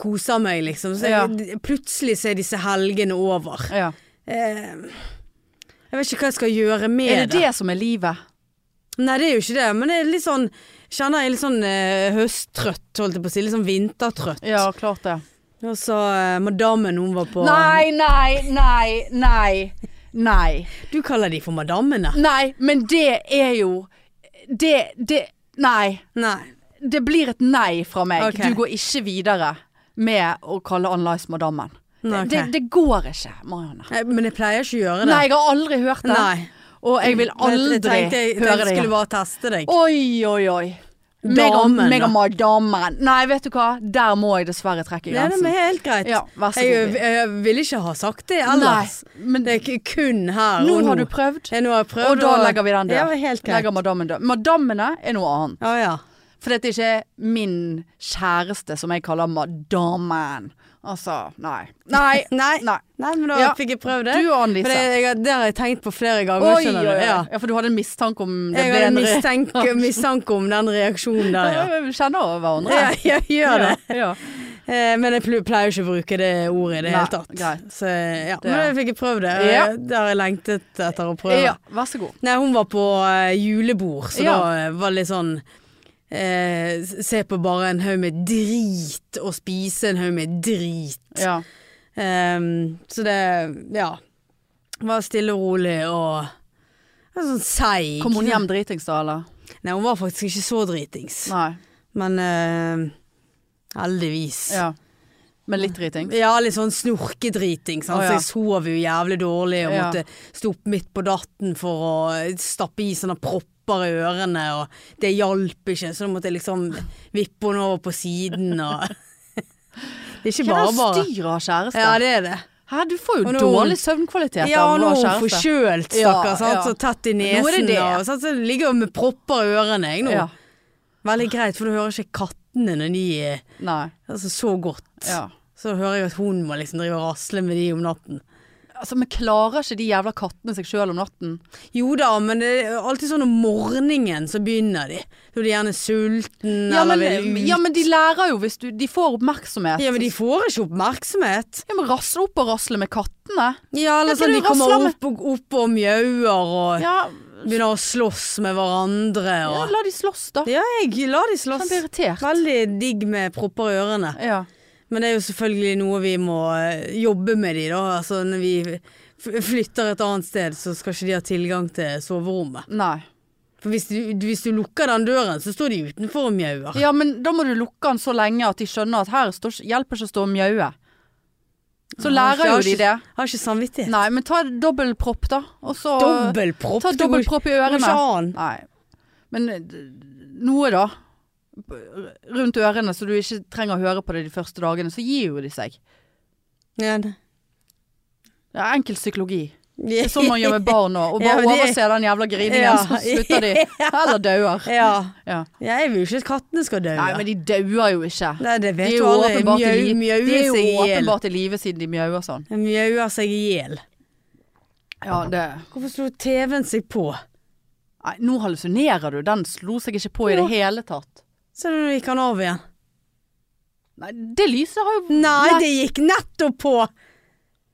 B: koser meg, liksom. Så jeg,
A: Ja.
B: d- Plutselig så er disse helgene over.
A: Ja.
B: Eh, jeg vet ikke hva jeg skal gjøre med
A: Er det det som er livet?
B: Nei, det er jo ikke det, men det er litt sånn Kjenner jeg litt sånn eh, høsttrøtt, holdt jeg på å si. Litt sånn vintertrøtt.
A: Ja, klart det.
B: Og så eh, madammen hun var på
A: Nei, nei, nei, nei. Nei.
B: Du kaller de for madammene?
A: Nei, men det er jo Det, det Nei.
B: Nei.
A: Det blir et nei fra meg.
B: Ok.
A: Du går ikke videre med å kalle Ann-Lice madammen.
B: Nei, ok.
A: Det, det går ikke, Marianne.
B: Eh, Men jeg pleier ikke å gjøre det.
A: Nei, jeg har aldri hørt det.
B: Nei.
A: Og jeg vil aldri
B: jeg tenkte jeg,
A: høre
B: jeg
A: det. igjen.
B: skulle bare teste deg.
A: Oi, oi, oi. Meg og-
B: Damen,
A: meg
B: da.
A: og madammen. Nei, vet du hva. Der må jeg dessverre trekke
B: Nei, det
A: grensen.
B: er helt greit.
A: altså. Ja, vær så
B: jeg,
A: god.
B: jeg ville ikke ha sagt det ellers.
A: Nei, men
B: Det er ikke kun her
A: nå
B: og nå.
A: har du prøvd,
B: Ja, nå har jeg prøvd.
A: og da legger vi den
B: Ja,
A: der.
B: helt greit.
A: legger madammen der. Madammene er noe annet.
B: Ja, ja.
A: For dette er ikke min kjæreste som jeg kaller madammen. Altså, nei. Nei.
B: Nei.
A: nei.
B: Nei, men da
A: Ja.
B: fikk jeg prøvd det.
A: Du og
B: For det,
A: Annelise.
B: jeg, det har jeg tenkt på flere ganger,
A: Oi, oi,
B: skjønner
A: oi.
B: du. Ja.
A: Ja, for du hadde en mistanke om det
B: Jeg
A: ble
B: hadde
A: en re-
B: mistenke, mistanke om den reaksjonen der, ja.
A: Ja, Vi kjenner hverandre.
B: Ja, jeg gjør det.
A: Ja, ja.
B: Eh, Men jeg pl- pleier ikke å bruke det ordet i det
A: Nei,
B: hele tatt.
A: greit.
B: Så eh, ja,
A: Det-
B: men jeg fikk jeg prøvd det. og
A: Ja.
B: jeg- Det har jeg lengtet etter å prøve.
A: ja, vær så god.
B: Nei, hun var på eh, julebord, så
A: Ja.
B: da eh, var det litt sånn eh, Se på bare en haug med drit, og spise en haug med drit.
A: Ja.
B: Ehm, så det, ja Var stille og rolig og var Sånn seig.
A: Kom hun hjem dritings da, eller?
B: Nei, hun var faktisk ikke så dritings.
A: Nei.
B: Men eh, heldigvis.
A: Ja. Men litt driting.
B: Ja, litt sånn snorkedriting. Sant?
A: Å, ja.
B: Så jeg sov jo jævlig dårlig og
A: Ja.
B: måtte stå opp midt på datten for å stappe i sånne propper i ørene, og det hjalp ikke, så da måtte jeg liksom vippe henne over på siden og Det er ikke
A: Hva
B: bare
A: er
B: bare.
A: det styret av kjæreste?
B: Ja, det er det.
A: Hæ, du får jo
B: Og nå-
A: dårlig søvnkvalitet
B: Ja,
A: av
B: og
A: å
B: nå er
A: ha
B: hun
A: kjæreste.
B: forkjølt,
A: Ja,
B: stakkar. sant?
A: ja.
B: Så tett i
A: er
B: nesen.
A: det det.
B: Og, sant? Så jeg ligger jo med propper i ørene, jeg nå.
A: Ja.
B: Veldig greit, for du hører ikke kattene når de er
A: Nei.
B: altså, så godt.
A: Ja.
B: Så hører jeg at hun må liksom drive og rasle med de om natten.
A: Altså, men klarer ikke de jævla kattene seg sjøl om natten?
B: Jo da, men det er alltid sånn om morgenen så begynner de. Da er de gjerne sulten
A: Ja men,
B: eller vil ut.
A: ja, men de lærer jo hvis du De får oppmerksomhet.
B: Ja, men de får ikke oppmerksomhet.
A: Ja, men rasle opp og rasle med kattene.
B: Ja, eller
A: Ja,
B: sånn
A: de
B: de kommer
A: rasler med-
B: opp og, opp og mjauer og
A: Ja,
B: begynner å slåss med hverandre
A: ja
B: og
A: la de slåss, da.
B: Ja, jeg lar de
A: Sånn
B: slåss.
A: blir irritert.
B: Veldig digg med propper i ørene.
A: Ja.
B: Men det er jo selvfølgelig noe vi må eh, jobbe med de da. Altså når vi f- flytter et annet sted, så skal ikke de ha tilgang til soverommet.
A: Nei.
B: For hvis du, hvis du lukker den døren, så står de utenfor og mjauer.
A: Ja, men da må du lukke den så lenge at de skjønner at her står, hjelper ikke å stå og mjaue. Så lærer jo
B: har
A: de
B: ikke-
A: det.
B: Har ikke samvittighet.
A: Nei, men ta dobbel propp, da. Og så
B: Dobbelpropp.
A: Ta dobbel propp i
B: Det går
A: ørene.
B: ikke an.
A: Nei. Men eh, d- noe, da. B- Rundt ørene, så du ikke trenger å høre på det de første dagene. Så gir jo de seg.
B: Ja, det-
A: Det er enkel psykologi. Det er sånn man gjør med barn nå. Og
B: Ja,
A: bare
B: men det-
A: overser den jævla griningen,
B: Ja.
A: så slutter de. Eller dauer.
B: Ja.
A: Ja.
B: Jeg vil jo ikke at kattene skal dø.
A: Nei, men de dauer jo ikke.
B: Nei, det
A: De
B: vet
A: er
B: du
A: jo
B: aldri.
A: åpenbart
B: Mjau-
A: i live. De
B: Mjauer
A: er
B: seg
A: jo
B: i hjel.
A: åpenbart i live siden de mjauer sånn.
B: Mjauer seg i hjel.
A: Ja, det
B: Hvorfor slo TV-en seg på?
A: Nei, nå hallusinerer du. Den slo seg ikke på i det
B: Ja.
A: hele tatt.
B: Se når du gikk han av igjen.
A: Nei, det lyset har jo
B: Nei, det gikk nettopp på!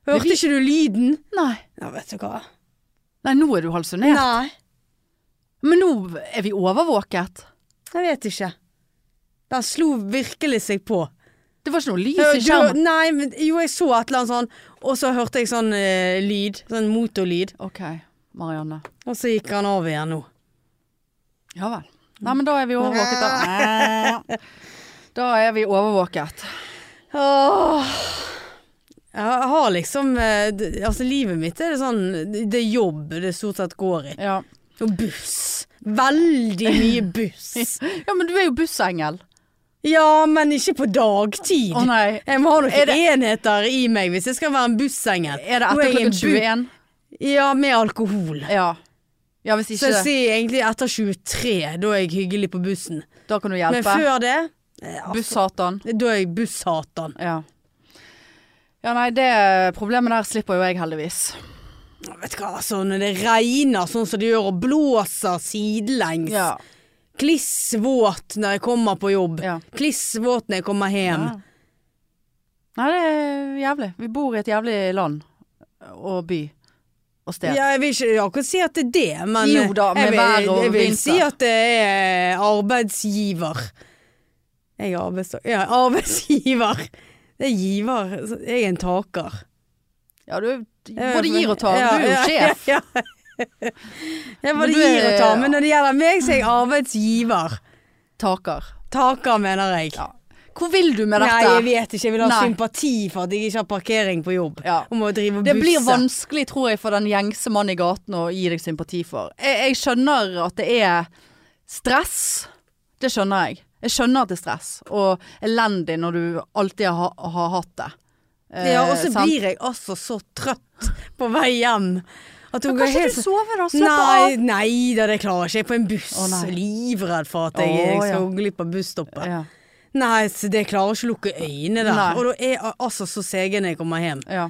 B: Hørte
A: Vi-
B: ikke du lyden?
A: Nei.
B: Ja, vet du hva.
A: Nei, nå er du halsonert.
B: Nei,
A: Men nå er vi overvåket.
B: jeg vet ikke. Den slo virkelig seg på.
A: Det var ikke noe lys
B: Ja,
A: i skjermen.
B: du- Nei, men jo, jeg så et eller annet sånn, og så hørte jeg sånn eh, lyd. Sånn motorlyd.
A: Ok, Marianne.
B: Og så gikk han av igjen nå.
A: Ja vel. Mm. Nei, men da er vi overvåket, da. Da er vi overvåket.
B: Åh. Jeg har liksom eh, d- Altså, livet mitt er det sånn Det er jobb det stort sett går i.
A: Ja.
B: Og buss. Veldig mye buss.
A: ja, men du er jo bussengel.
B: Ja, men ikke på dagtid.
A: Å nei.
B: Jeg må ha
A: Er
B: noen enheter i meg hvis jeg skal være en bussengel.
A: Er det
B: Nå
A: etter
B: jeg en
A: klokken
B: bu-
A: 21?
B: Ja, med alkohol.
A: Ja. ja, hvis
B: Så
A: ikke,
B: jeg sier egentlig etter 23, da er jeg hyggelig på bussen.
A: da kan du
B: Men
A: hjelpe.
B: før det eh, altså,
A: Bussatan.
B: Da er jeg busshatan.
A: Ja. Ja, nei, det problemet der slipper jo jeg heldigvis.
B: Vet du hva, altså, når det regner sånn som det gjør og blåser sidelengs.
A: Ja.
B: Klissvåt når jeg kommer på jobb.
A: Ja.
B: Klissvåt når jeg kommer hjem.
A: Ja. Nei, det er jævlig. Vi bor i et jævlig land og by og sted.
B: Ja, jeg vil ikke akkurat si at det er det, men
A: Jo da, med
B: jeg vil,
A: vær og
B: jeg vil
A: vinter.
B: si at det er arbeidsgiver. Jeg er arbeidstaker Ja, arbeidsgiver. Det er giver. Jeg er en taker.
A: Ja, du
B: Jeg-
A: både gir og tar.
B: Eh, Ja,
A: Du er jo
B: ja,
A: sjef.
B: Ja, ja. Jeg
A: Men
B: både
A: du er-
B: gir og tar, men når det gjelder meg, så er jeg arbeidsgiver.
A: Taker.
B: Taker, mener jeg.
A: Ja. Hvor vil du med dette?
B: Nei, jeg vet ikke. Jeg vil ha
A: Nei.
B: sympati for at jeg ikke har parkering på jobb.
A: Ja.
B: Og må drive og
A: Det blir
B: busse.
A: vanskelig, tror jeg, for den gjengse mann i gaten å gi deg sympati for. Jeg, jeg skjønner at det er stress. Det skjønner jeg. Jeg skjønner at det er stress, og elendig når du alltid har, har hatt det. Eh,
B: Ja, og så
A: sant?
B: blir jeg altså så trøtt på vei hjem. At hun
A: Men
B: går
A: Kanskje
B: helt
A: du
B: sånn-
A: sover, da?
B: Nei,
A: Slapp
B: nei da, det klarer ikke jeg på en buss.
A: Å, nei.
B: Livredd for at jeg,
A: Å,
B: jeg
A: ja.
B: skal glipp av busstoppet.
A: av. Ja.
B: Nei, så det klarer ikke å lukke øynene der.
A: Nei.
B: Og da er jeg altså så segen når jeg kommer hjem.
A: Ja.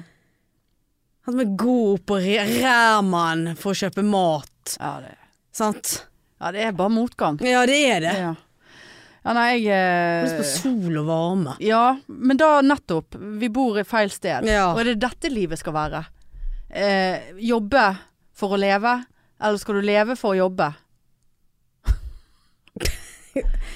B: At vi går opp på Re- Ræman for å kjøpe mat.
A: Ja, det,
B: Sant?
A: ja, det er bare motgang.
B: Ja, det er det.
A: Ja, ja nei, jeg eh,
B: Lyst på sol og varme.
A: Ja, men da nettopp. Vi bor i feil sted.
B: Ja.
A: Og er det dette livet skal være? Eh, jobbe for å leve, eller skal du leve for å jobbe?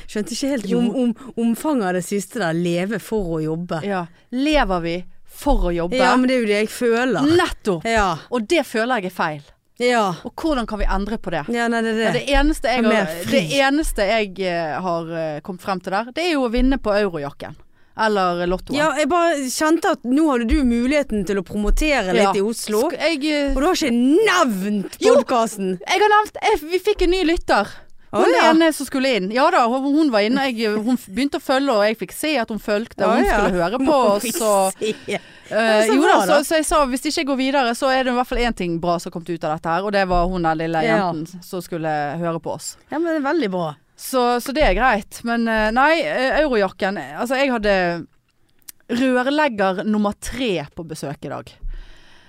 B: Skjønte ikke helt
A: Jo.
B: om, om, omfanget av det siste der. Leve for å jobbe.
A: Ja. Lever vi for å jobbe?
B: Ja, men det er jo det jeg føler.
A: Nettopp!
B: Ja.
A: Og det føler jeg er feil.
B: Ja.
A: Og hvordan kan vi endre på det?
B: Ja, nei, det er
A: Ja,
B: det.
A: det eneste jeg,
B: Mer
A: har, det
B: fri.
A: eneste jeg eh, har eh, kommet frem til der, det er jo å vinne på eurojakken. Eller lottoen.
B: Ja, jeg bare kjente at nå hadde du muligheten til å promotere litt
A: Ja.
B: i Oslo.
A: Sk- Jeg, eh,
B: Og du har ikke nevnt
A: Jo!
B: podkasten!
A: Jeg har nevnt jeg, Vi fikk en ny lytter.
B: Å,
A: Hun
B: ja.
A: ene som skulle inn. Ja da, hun, hun var inne. Jeg, eh, hun f- begynte å følge, og jeg fikk se at hun fulgte. og Hun skulle høre på. og Så, eh,
B: så
A: jo
B: bra,
A: da, så,
B: da.
A: så jeg sa hvis ikke jeg går videre, så er det i hvert fall én ting bra som kom ut av dette her. Og det var hun den lille
B: Ja.
A: jenten som skulle høre på oss.
B: Ja, men det er veldig bra.
A: Så, så det er greit. Men eh, nei, eh, eurojakken Altså, jeg hadde rørlegger nummer tre på besøk i dag.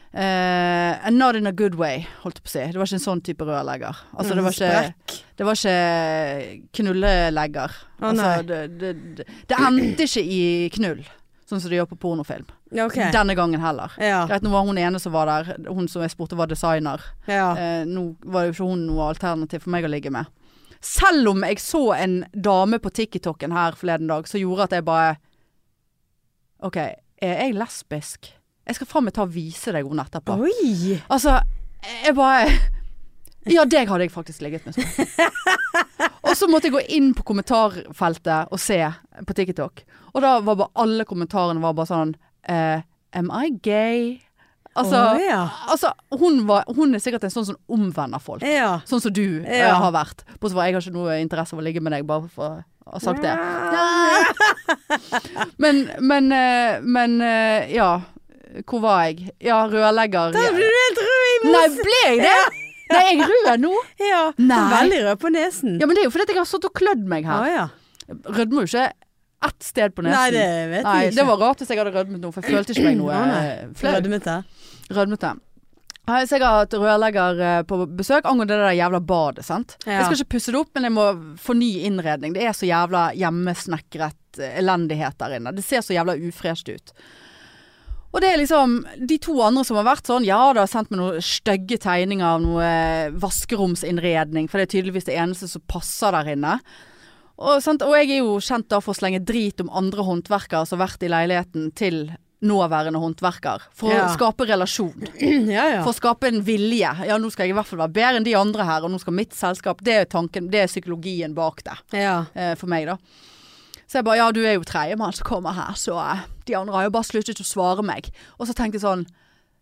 A: Eh, and not in a good way, holdt jeg på å si. Det var ikke en sånn type rørlegger. Altså,
B: Mm,
A: det var ikke
B: Sprekk.
A: det var ikke knullelegger.
B: Å, nei.
A: altså, det, det, det, det endte ikke i knull, sånn som det gjør på pornofilm.
B: Ja, ok.
A: Denne gangen heller.
B: Ja.
A: Greit, nå var hun ene som var der, hun som jeg spurte var designer.
B: ja.
A: Eh, nå var jo ikke hun noe alternativ for meg å ligge med. Selv om jeg så en dame på TikToken her forleden dag som gjorde at jeg bare OK, er jeg lesbisk? Jeg skal faen meg ta og vise deg henne etterpå.
B: Oi!
A: Altså, jeg bare Ja, deg hadde jeg faktisk ligget med. sånn. og så måtte jeg gå inn på kommentarfeltet og se på TikTok. Og da var bare alle kommentarene var bare sånn eh, Am I gay? Altså,
B: Å, ja.
A: altså hun, var, hun er sikkert en sånn som omvender folk.
B: Ja.
A: Sånn som du eh,
B: Ja.
A: har vært. Bortsett fra jeg har ikke noe interesse av å ligge med deg, bare for å ha sagt det. Men, men, eh, men eh, Ja. Hvor var jeg? Ja, rørlegger.
B: Da
A: ja.
B: blir du helt rød i
A: Nei,
B: mosen!
A: ble jeg det? Nei, jeg er rød nå.
B: Ja.
A: Nei.
B: Veldig rød på nesen.
A: Ja, men det er jo fordi at jeg har stått og klødd meg
B: Å,
A: her.
B: ja.
A: Rødmer jo ikke ett sted på nesen.
B: Nei, det vet
A: Nei,
B: jeg ikke.
A: det var rart hvis jeg hadde rødmet nå, for jeg følte ikke meg noe
B: Å, nei.
A: eh, flau.
B: Rødmete.
A: Rødmete. Nei, Så jeg har hatt rørlegger eh, på besøk angående det der jævla badet, sant.
B: Ja.
A: Jeg skal ikke pusse det opp, men jeg må få ny innredning. Det er så jævla hjemmesnekret eh, elendighet der inne. Det ser så jævla ufresht ut. Og det er liksom de to andre som har vært sånn Ja, det har sendt meg noen stygge tegninger av noe eh, vaskeromsinnredning, for det er tydeligvis det eneste som passer der inne. Og, sant? og jeg er jo kjent da for å slenge drit om andre håndverkere som har vært i leiligheten til nåværende håndverker. For
B: Ja.
A: å skape relasjon.
B: ja, ja.
A: For å skape en vilje. Ja, nå skal jeg i hvert fall være bedre enn de andre her, og nå skal mitt selskap Det er tanken, det er psykologien bak det
B: ja.
A: eh, for meg, da. Så jeg bare ja, du er jo tredjemann som kommer her, så eh, de andre har jo bare sluttet å svare meg. Og så tenkte jeg sånn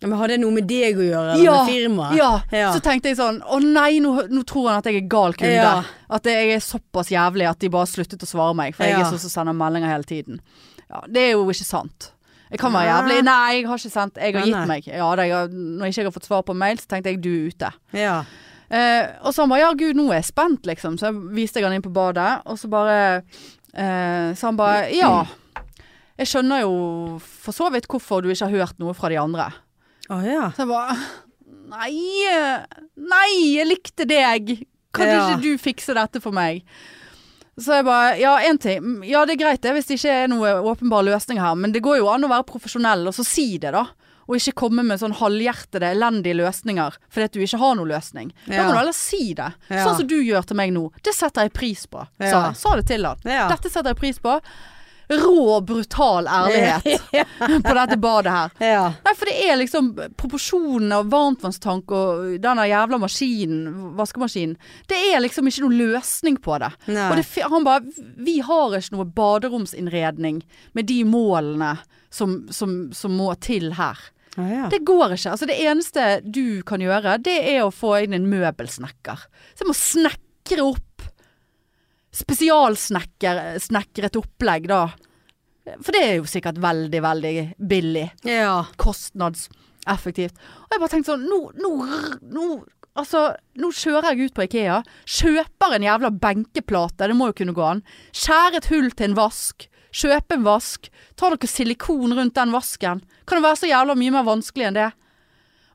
B: Ja, Men har det noe med deg å gjøre, eller
A: ja,
B: med firmaet?
A: ja.
B: Ja.
A: Så tenkte jeg sånn Å nei, nå, nå tror han at jeg er gal kunde.
B: Ja.
A: At jeg er såpass jævlig at de bare har sluttet å svare meg. For jeg
B: Ja.
A: er sånn som sender meldinger hele tiden. Ja, det er jo ikke sant. Jeg kan være jævlig. Nei, jeg har ikke sendt. Jeg har
B: Nei,
A: gitt
B: nei.
A: meg. Ja, det, jeg har, når ikke jeg har fått svar på mail, så tenkte jeg du er ute.
B: Ja.
A: Eh, og så han bare 'ja, gud, nå er jeg spent', liksom. Så jeg viste jeg han inn på badet, og så bare eh, Så han bare 'ja, jeg skjønner jo for så vidt hvorfor du ikke har hørt noe fra de andre'.
B: Å ja.
A: Så jeg bare Nei, nei, jeg likte deg. Kan
B: Ja.
A: ikke du fikse dette for meg? Så jeg bare Ja, én ting. Mm, Ja, det er greit det hvis det ikke er noe åpenbar løsning her, men det går jo an å være profesjonell og så si det, da. Og ikke komme med sånn halvhjertede, elendige løsninger fordi at du ikke har noen løsning. Da
B: Ja.
A: må du heller si det.
B: Ja.
A: Sånn som du gjør til meg nå. Det setter jeg pris på, sa
B: Ja.
A: jeg. Sa det til han.
B: Ja.
A: Dette setter jeg pris på. Rå, brutal ærlighet på dette badet her.
B: Ja.
A: Nei, for det er liksom proporsjonene og varmtvannstank og denne jævla maskinen, vaskemaskinen. Det er liksom ikke noen løsning på det.
B: Nei.
A: Og det, fi- han bare Vi har ikke noe baderomsinnredning med de målene som, som, som må til her.
B: Å ja.
A: Det går ikke. Altså, det eneste du kan gjøre, det er å få inn en møbelsnekker. Så jeg må snekre opp spesialsnekret opplegg, da. For det er jo sikkert veldig, veldig billig
B: ja.
A: kostnadseffektivt. Og jeg bare tenkte sånn Nå, nå, r- nå Altså, nå kjører jeg ut på Ikea. Kjøper en jævla benkeplate, det må jo kunne gå an. Skjære et hull til en vask. Kjøpe en vask. Ta noe silikon rundt den vasken. Kan det være så jævla mye mer vanskelig enn det?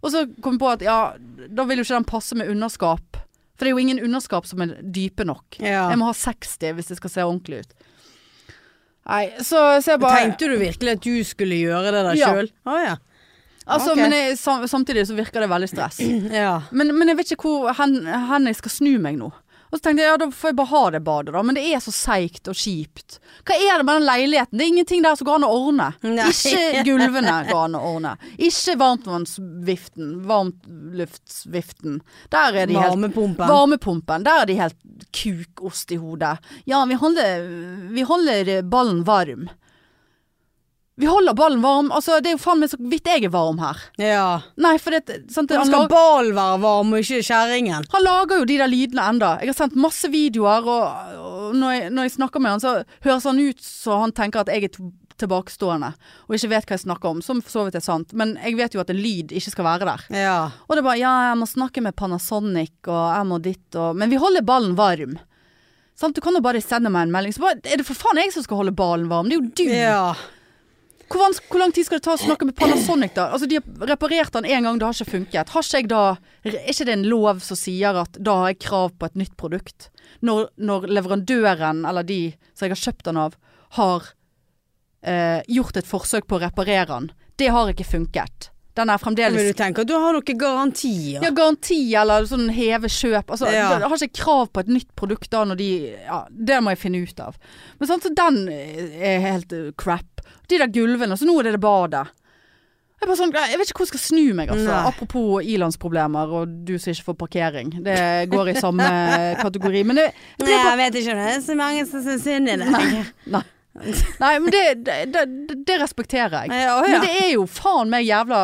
A: Og så kom jeg på at ja, da vil jo ikke den passe med underskap. For det er jo ingen underskap som er dype nok.
B: Ja.
A: Jeg må ha 60 hvis det skal se ordentlig ut. Nei, så, så jeg bare
B: Tenkte du virkelig at du skulle gjøre det der
A: Ja.
B: sjøl? Å ja.
A: Altså,
B: Ok.
A: men jeg, sam, samtidig så virker det veldig stress.
B: ja.
A: Men, men jeg vet ikke hvor hen, hen jeg skal snu meg nå. Og så tenkte jeg, ja da får jeg bare ha det badet da, men det er så seigt og kjipt. Hva er det med den leiligheten? Det er ingenting der som går an å ordne.
B: Nei.
A: Ikke gulvene går an å ordne. Ikke varmtvannsviften, varmtluftsviften. Der er de helt
B: Varmepumpen.
A: Varmepumpen, der er de helt kukost i hodet. Ja, vi holder, vi holder ballen varm. Vi holder ballen varm. Altså, det er jo faen meg så vidt jeg er varm her.
B: ja.
A: Nei, for det sant,
B: Men
A: han,
B: skal
A: lager,
B: ball være varm, og ikke kjerringen?
A: han lager jo de der lydene enda. Jeg har sendt masse videoer, og, og når, jeg, når jeg snakker med han, så høres han ut så han tenker at jeg er to- tilbakestående og ikke vet hva jeg snakker om, som for så vidt er sant. Men jeg vet jo at en lyd ikke skal være der.
B: Ja.
A: Og det er bare ja, jeg må snakke med Panasonic, og jeg må ditt og Men vi holder ballen varm. Sant? Du kan jo bare sende meg en melding. Så bare, er det for faen jeg som skal holde ballen varm? Det er jo du!
B: Ja.
A: Hvor, vans- hvor lang tid skal det ta å snakke med Panasonic, da? Altså, de har reparert den én gang, det har ikke funket. Har ikke jeg da Er ikke det en lov som sier at da har jeg krav på et nytt produkt? Når, når leverandøren, eller de som jeg har kjøpt den av, har eh, gjort et forsøk på å reparere den. Det har ikke funket. Den er fremdeles
B: Men du tenker at du har noen garantier?
A: ja, garanti eller sånn heve kjøp. Altså,
B: Ja.
A: Jeg har ikke krav på et nytt produkt da når de ja, Det må jeg finne ut av. Men sant, så den er helt eh, crap. De der gulvene. Så nå er det det badet. Jeg, er bare sånn, jeg vet ikke hvor jeg skal snu meg, altså.
B: Nei.
A: Apropos ilandsproblemer og du som ikke får parkering. Det går i samme kategori. Men det, det
B: Nei,
A: er bare,
B: jeg vet ikke om det er så mange som syns synd i deg.
A: nei. nei, men det, det, det, det respekterer jeg.
B: Ja, å ja.
A: Men det er jo faen meg jævla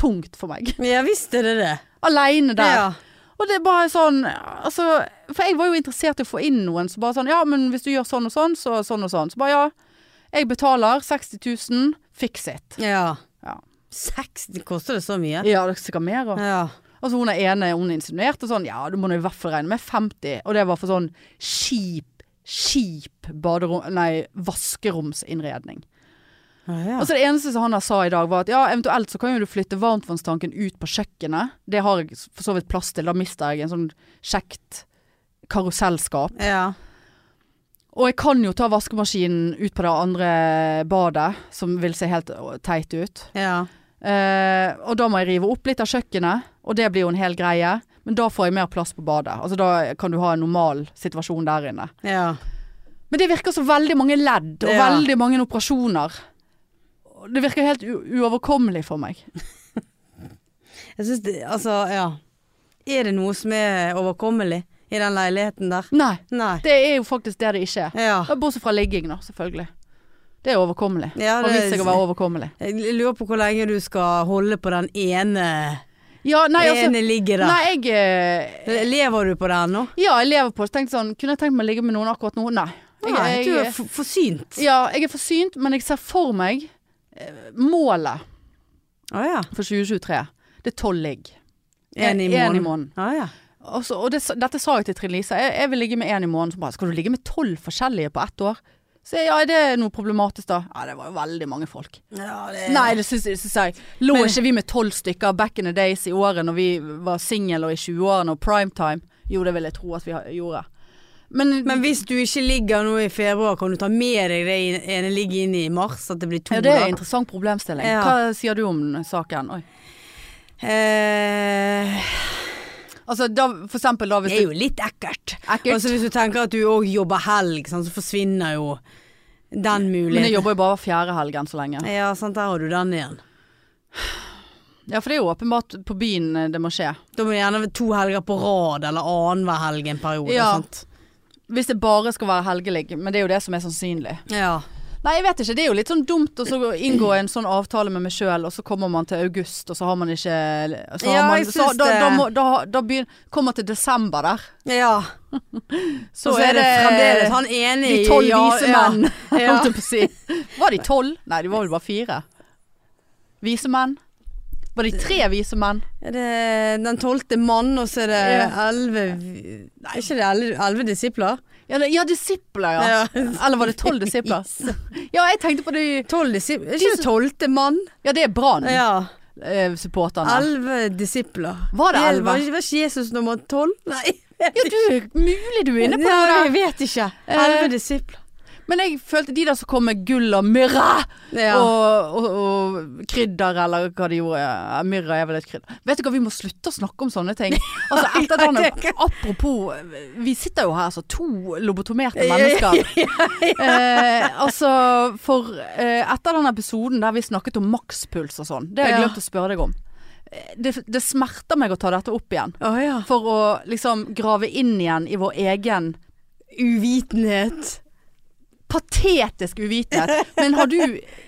A: tungt for meg.
B: Ja visst er det det.
A: Aleine der.
B: Ja.
A: Og det er bare sånn altså, For jeg var jo interessert i å få inn noen som bare sånn Ja, men hvis du gjør sånn og sånn, så sånn og sånn. Så bare ja. Jeg betaler 60 000, fix it.
B: ja.
A: Ja.
B: Sex, det koster det så mye?
A: Ja, det er sikkert mer òg.
B: Ja.
A: Altså, hun er ene, hun insinuerte sånn Ja, du må nå i hvert fall regne med 50. Og det var for sånn kjip, kjip baderom... Nei, vaskeromsinnredning.
B: Å ja.
A: Og så det eneste som han her sa i dag, var at ja, eventuelt så kan jo du flytte varmtvannstanken ut på kjøkkenet. Det har jeg for så vidt plass til. Da mister jeg en sånn kjekt karusellskap.
B: ja.
A: Og jeg kan jo ta vaskemaskinen ut på det andre badet, som vil se helt teit ut.
B: Ja.
A: Eh, og da må jeg rive opp litt av kjøkkenet, og det blir jo en hel greie. Men da får jeg mer plass på badet. Altså Da kan du ha en normal situasjon der inne.
B: ja.
A: Men det virker som veldig mange ledd og
B: Ja.
A: veldig mange operasjoner. Det virker helt u uoverkommelig for meg.
B: Jeg syns det Altså, ja. Er det noe som er overkommelig i den leiligheten der?
A: Nei,
B: Nei.
A: det er jo faktisk det det ikke er.
B: Ja.
A: Ja, Bortsett fra ligging, da, selvfølgelig. Det er overkommelig.
B: Ja,
A: Har vist seg å være overkommelig.
B: Jeg lurer på hvor lenge du skal holde på den ene,
A: Ja, nei, altså
B: ene ligger der.
A: Nei, jeg eh,
B: Lever du på den nå?
A: Ja, jeg lever på det. Tenkte sånn Kunne jeg tenkt meg å ligge med noen akkurat nå? Nei. Jeg,
B: Nei, du er
A: jeg,
B: f- forsynt.
A: ja, jeg er forsynt, men jeg ser for meg eh, målet
B: Å ja.
A: for 2023. Det er tolv ligg. Eh,
B: En i
A: En i
B: måneden.
A: måneden.
B: Å ja.
A: Og så- og det, sa- dette sa jeg til Trine Lise. Jeg, jeg vil ligge med én i måneden. Så bare Skal du ligge med tolv forskjellige på ett år? Så jeg, ja, er det noe problematisk da? Ja, det var jo veldig mange folk.
B: Ja, det
A: Nei, det syns, syns jeg. Lå
B: Eh. Men-
A: ikke vi med tolv stykker back in the days i året når vi var single og i 20-årene og primetime? Jo, det vil jeg tro at vi har- gjorde. Men,
B: Men hvis du ikke ligger nå i februar, kan du ta med deg det inn- ene ligget inn i mars? At det blir to?
A: ja, det er
B: da?
A: en interessant problemstilling.
B: Ja.
A: Hva sier du om den saken? Oi.
B: eh,
A: Altså, da, for eksempel da hvis
B: det er
A: du
B: jo litt ekkelt.
A: Ekkelt.
B: Altså, hvis du tenker at du òg jobber helg, sant, så forsvinner jo den
A: Men jeg
B: muligheten.
A: jobber jo bare hver fjerde helg enn så lenge.
B: Ja, sant, der har du den igjen.
A: Ja, for det er jo åpenbart på byen eh, det må skje.
B: Da må du gjerne være to helger på rad, eller annenhver helg en periode.
A: Ja.
B: Sant?
A: Hvis det bare skal være helgelig, men det er jo det som er sannsynlig.
B: ja.
A: Nei, jeg vet ikke. Det er jo litt sånn dumt å så inngå en sånn avtale med meg sjøl, og så kommer man til august, og så har man ikke så har
B: Ja,
A: man,
B: jeg
A: så,
B: syns
A: da, da,
B: det.
A: må, da, da begyn, kommer til desember der.
B: ja.
A: Så,
B: Så, er det fremdeles han ene
A: de
B: i-
A: tolv
B: ja,
A: vise menn,
B: Ja.
A: holdt jeg på å si. Var de tolv? Nei, de var vel bare fire. Vise menn. Var de tre vise menn?
B: Er det den tolvte mann, og så er det
A: Ja.
B: elleve Er ikke det elleve- elleve disipler?
A: Ja, det- ja disipler, ja. Eller var det tolv disipler? Ja, jeg tenkte på det
B: Tolv disipler? Er ikke det tolvte mann?
A: Ja, det er Brann-supporterne.
B: Ja. Elleve disipler.
A: Var det
B: Vel,
A: elleve?
B: Var ikke- var ikke Jesus nummer tolv? Nei. jeg
A: Ja, du, mulig du er inne på
B: Nei,
A: noe der.
B: Jeg vet ikke.
A: Eh,
B: Elleve disipler.
A: Men jeg følte de der som kom med gull og myrra
B: Ja.
A: og, og, og krydder, eller hva de gjorde. Ja, Myrra er vel et krydder. Vet du hva, vi må slutte å snakke om sånne ting. Altså, etter
B: Nei,
A: denne,
B: jeg tenker-
A: apropos, vi sitter jo her som to lobotomerte mennesker. Eh, altså, for eh, etter den episoden der vi snakket om makspuls og sånn, det har jeg
B: Ja.
A: glemt å spørre deg om. Eh, Det, det smerter meg å ta dette opp igjen.
B: Å ja.
A: For å liksom grave inn igjen i vår egen
B: Uvitenhet.
A: patetisk uvitenhet. Men har du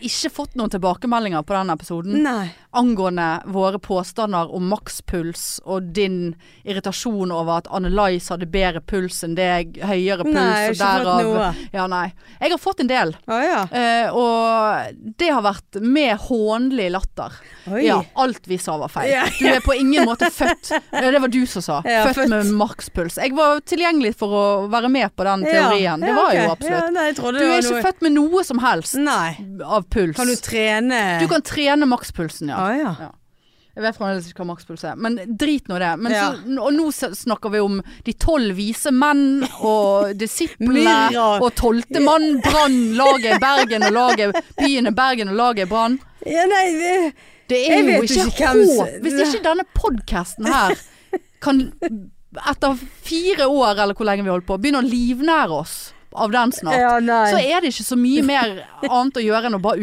A: ikke fått noen tilbakemeldinger på den episoden
B: Nei.
A: angående våre påstander om makspuls og din irritasjon over at Annelise hadde bedre puls enn deg, høyere puls
B: Nei,
A: og
B: jeg har ikke fått noe.
A: Ja, nei. Jeg har fått en del.
B: Å ja.
A: eh, og det har vært med hånlig latter.
B: Oi.
A: Ja, alt vi sa var feil.
B: Ja.
A: Du er på ingen måte født eh, Det var du som sa.
B: Ja,
A: født,
B: født.
A: med makspuls. Jeg var tilgjengelig for å være med på den teorien. Det
B: Ja,
A: var jo
B: ok.
A: absolutt.
B: Ja, nei, jeg trodde
A: Du
B: det
A: er
B: var
A: ikke
B: noe-
A: født med noe som helst
B: Nei.
A: av puls.
B: Kan du trene
A: Du kan trene makspulsen, ja.
B: Å ja.
A: Ja. Jeg vet fremdeles ikke hva makspuls er, men drit nå det. Men
B: Ja.
A: så, og nå s- snakker vi om de tolv vise menn og disiplene
B: Myrra.
A: og tolvte mann, Brann, laget i Bergen og laget Byen er Bergen og laget i Brann.
B: ja nei, det-
A: Det
B: Jeg
A: er jo
B: vet
A: ikke,
B: ikke hvem som-
A: håp hvis ikke denne podkasten her kan etter fire år, eller hvor lenge vi holdt på, begynne å livnære oss av den snart.
B: Ja, nei.
A: så er det ikke så mye mer annet å gjøre enn å bare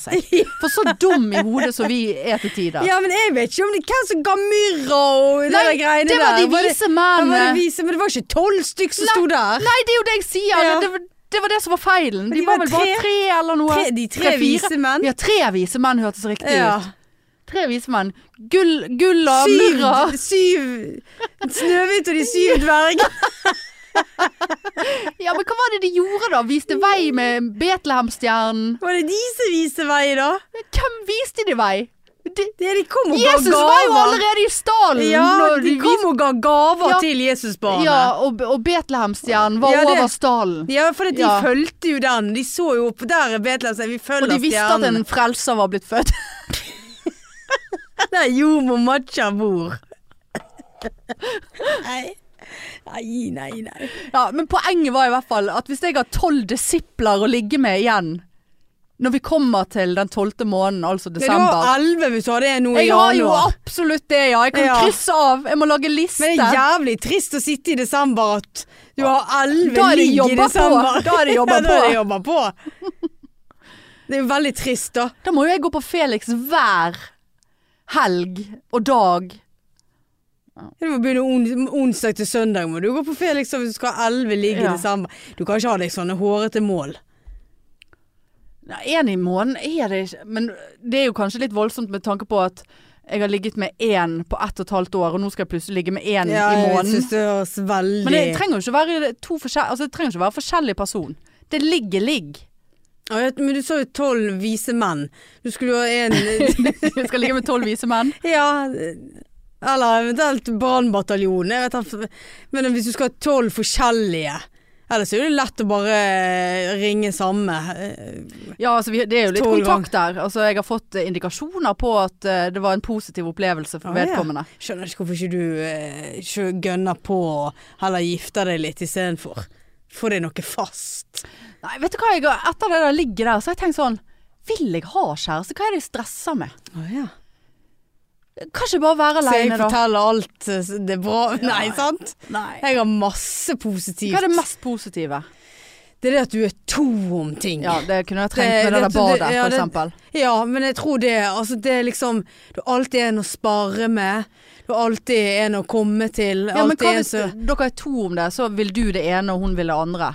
A: seg. For så dum i hodet som vi er til tider.
B: Ja, men jeg vet ikke om det hvem som ga myrra og det der greiene
A: det var
B: der.
A: de
B: Ja,
A: vise
B: var det
A: mennene.
B: vise, men det var ikke tolv stykk som
A: Nei,
B: sto der.
A: Nei, det er jo det jeg sier.
B: Ja.
A: Det, var- det var det som var feilen. De,
B: de
A: var
B: var
A: vel bare
B: tre.
A: tre eller noe.
B: Tre- de tre vise menn.
A: Ja, tre vise menn hørtes riktig
B: Ja.
A: ut. Tre vise menn. Gull, gull og
B: Syv,
A: myrra.
B: syv Snøhvit og de syv dverger.
A: Ja, men hva var det de gjorde da? Viste
B: Mm.
A: vei med Betlehemstjernen?
B: Var det de som viste vei, da?
A: Hvem viste de vei? De,
B: Ja, de kom og
A: Jesus
B: ga gaver.
A: var jo allerede i stallen!
B: ja,
A: når
B: de kom og ga gaver
A: Ja.
B: til Jesusbarnet.
A: viste- ja, og, og Betlehemstjernen var
B: Ja, det-
A: over stallen.
B: Ja, for at de
A: Ja.
B: fulgte jo den. De så jo opp der er Betlehem, så vi
A: Og
B: følger
A: de visste at en frelser var blitt født.
B: Der jordmor Matcha bor. Nei. Nei, nei, nei.
A: Ja, men poenget var i hvert fall at hvis jeg har tolv disipler å ligge med igjen når vi kommer til den tolvte måneden, altså
B: Men du har
A: desember
B: elleve hvis du har det nå i
A: Jeg har jo
B: januar.
A: absolutt det, ja. Jeg kan
B: Ja.
A: krysse av. Jeg må lage liste.
B: Men det er jævlig trist å sitte i desember at du har
A: Da
B: elleve
A: er det
B: ligg i
A: jobba på.
B: desember.
A: Da er det jobba
B: Ja, da
A: på.
B: er det jobba på. Det er jo veldig trist, da.
A: Da må jo jeg gå på Felix hver helg og dag.
B: Du må begynne on onsdag til søndag. Må du gå på Felix og hvis du skal ha elleve ligg i
A: Ja.
B: desember. Du kan ikke ha deg sånne hårete mål.
A: Én i måneden er det ikke, men det er jo kanskje litt voldsomt med tanke på at jeg har ligget med én på ett og et halvt år, og nå skal jeg plutselig ligge med én i
B: jeg
A: måneden.
B: syns det høres veldig
A: Men det trenger jo ikke være to forskjell, altså det trenger ikke være forskjellig person. Det ligger ligg.
B: Ja, vet du, Men du sa jo tolv vise menn. Du skulle jo ha en
A: Jeg skal ligge med tolv vise menn.
B: Ja, eller eventuelt brannbataljon. Jeg vet ikke. Men hvis du skal ha tolv forskjellige, ellers er det lett å bare eh, ringe samme. eh,
A: Ja, altså vi, det er jo litt
B: Tolv
A: kontakt der. Altså jeg har fått eh, indikasjoner på at eh, det var en positiv opplevelse for
B: Ah, ja.
A: vedkommende.
B: Skjønner ikke hvorfor ikke du eh, ikke gønner på og heller gifter deg litt istedenfor. Få deg noe fast.
A: Nei, vet du hva, jeg, har- etter det der ligger der, så har jeg tenkt sånn Vil jeg ha kjæreste? Hva er det jeg stresser med?
B: Å ja.
A: Kan ikke bare
B: Så
A: være
B: jeg
A: aleine, Ah, da?
B: forteller alt eh, det er bra Nei, sant?
A: Nei.
B: Jeg har masse positivt.
A: Hva er det mest positive?
B: Det er det at du er to om ting.
A: Ja, det kunne jeg trengt med
B: Det-
A: det,
B: det-
A: der badet,
B: det- ja,
A: for
B: det-
A: eksempel.
B: Ja, men jeg tror det. Altså, det er liksom Du har alltid en å spare med. Du har alltid en å komme til.
A: Ja, men
B: alltid
A: hva
B: en
A: hvis
B: som
A: dere er to om det, så vil du det ene, og hun vil det andre?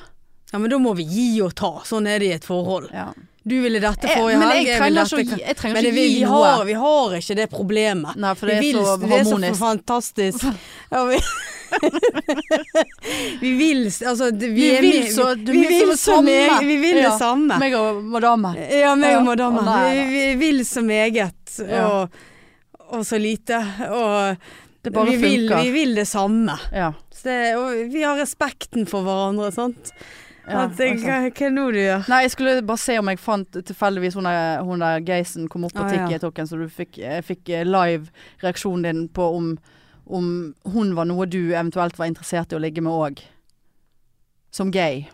B: Ja, men da må vi gi og ta. Sånn er det i et forhold.
A: Ja.
B: Du ville dette
A: Jeg,
B: forrige
A: men
B: helg,
A: jeg
B: ville
A: trenger ikke å
B: dette-
A: gi, jeg trenger
B: Men det,
A: ikke
B: vi,
A: gi
B: vi,
A: noe.
B: har, vi har ikke det problemet.
A: Nei, for det
B: vi
A: er
B: det
A: så
B: er så
A: harmonisk.
B: fantastisk. Ja, vi, vi vil s- Altså, det- vi,
A: Vi
B: er
A: vil
B: med-
A: så-
B: vi,
A: du- vi vil
B: vil så
A: det samme.
B: meg- vi vil det
A: Ja.
B: samme.
A: Meg og madame.
B: Ja, meg og
A: Ja.
B: madammen.
A: Å, nei,
B: vi,
A: nei.
B: vi vil så meget,
A: Ja.
B: og, og så lite. Og
A: Det bare
B: vi, vil,
A: funker.
B: vi vil det samme.
A: Ja.
B: Så det, og vi har respekten for hverandre, sant.
A: ja
B: At, det-
A: altså.
B: hva, hva er det nå du gjør?
A: Nei, jeg skulle bare se om jeg fant tilfeldigvis hun der, hun der Geisen kom opp på
B: Ah, ja.
A: tikket tokken, så du fikk, jeg fikk eh, live reaksjonen din på om, om hun var noe du eventuelt var interessert i å ligge med òg. Som gay.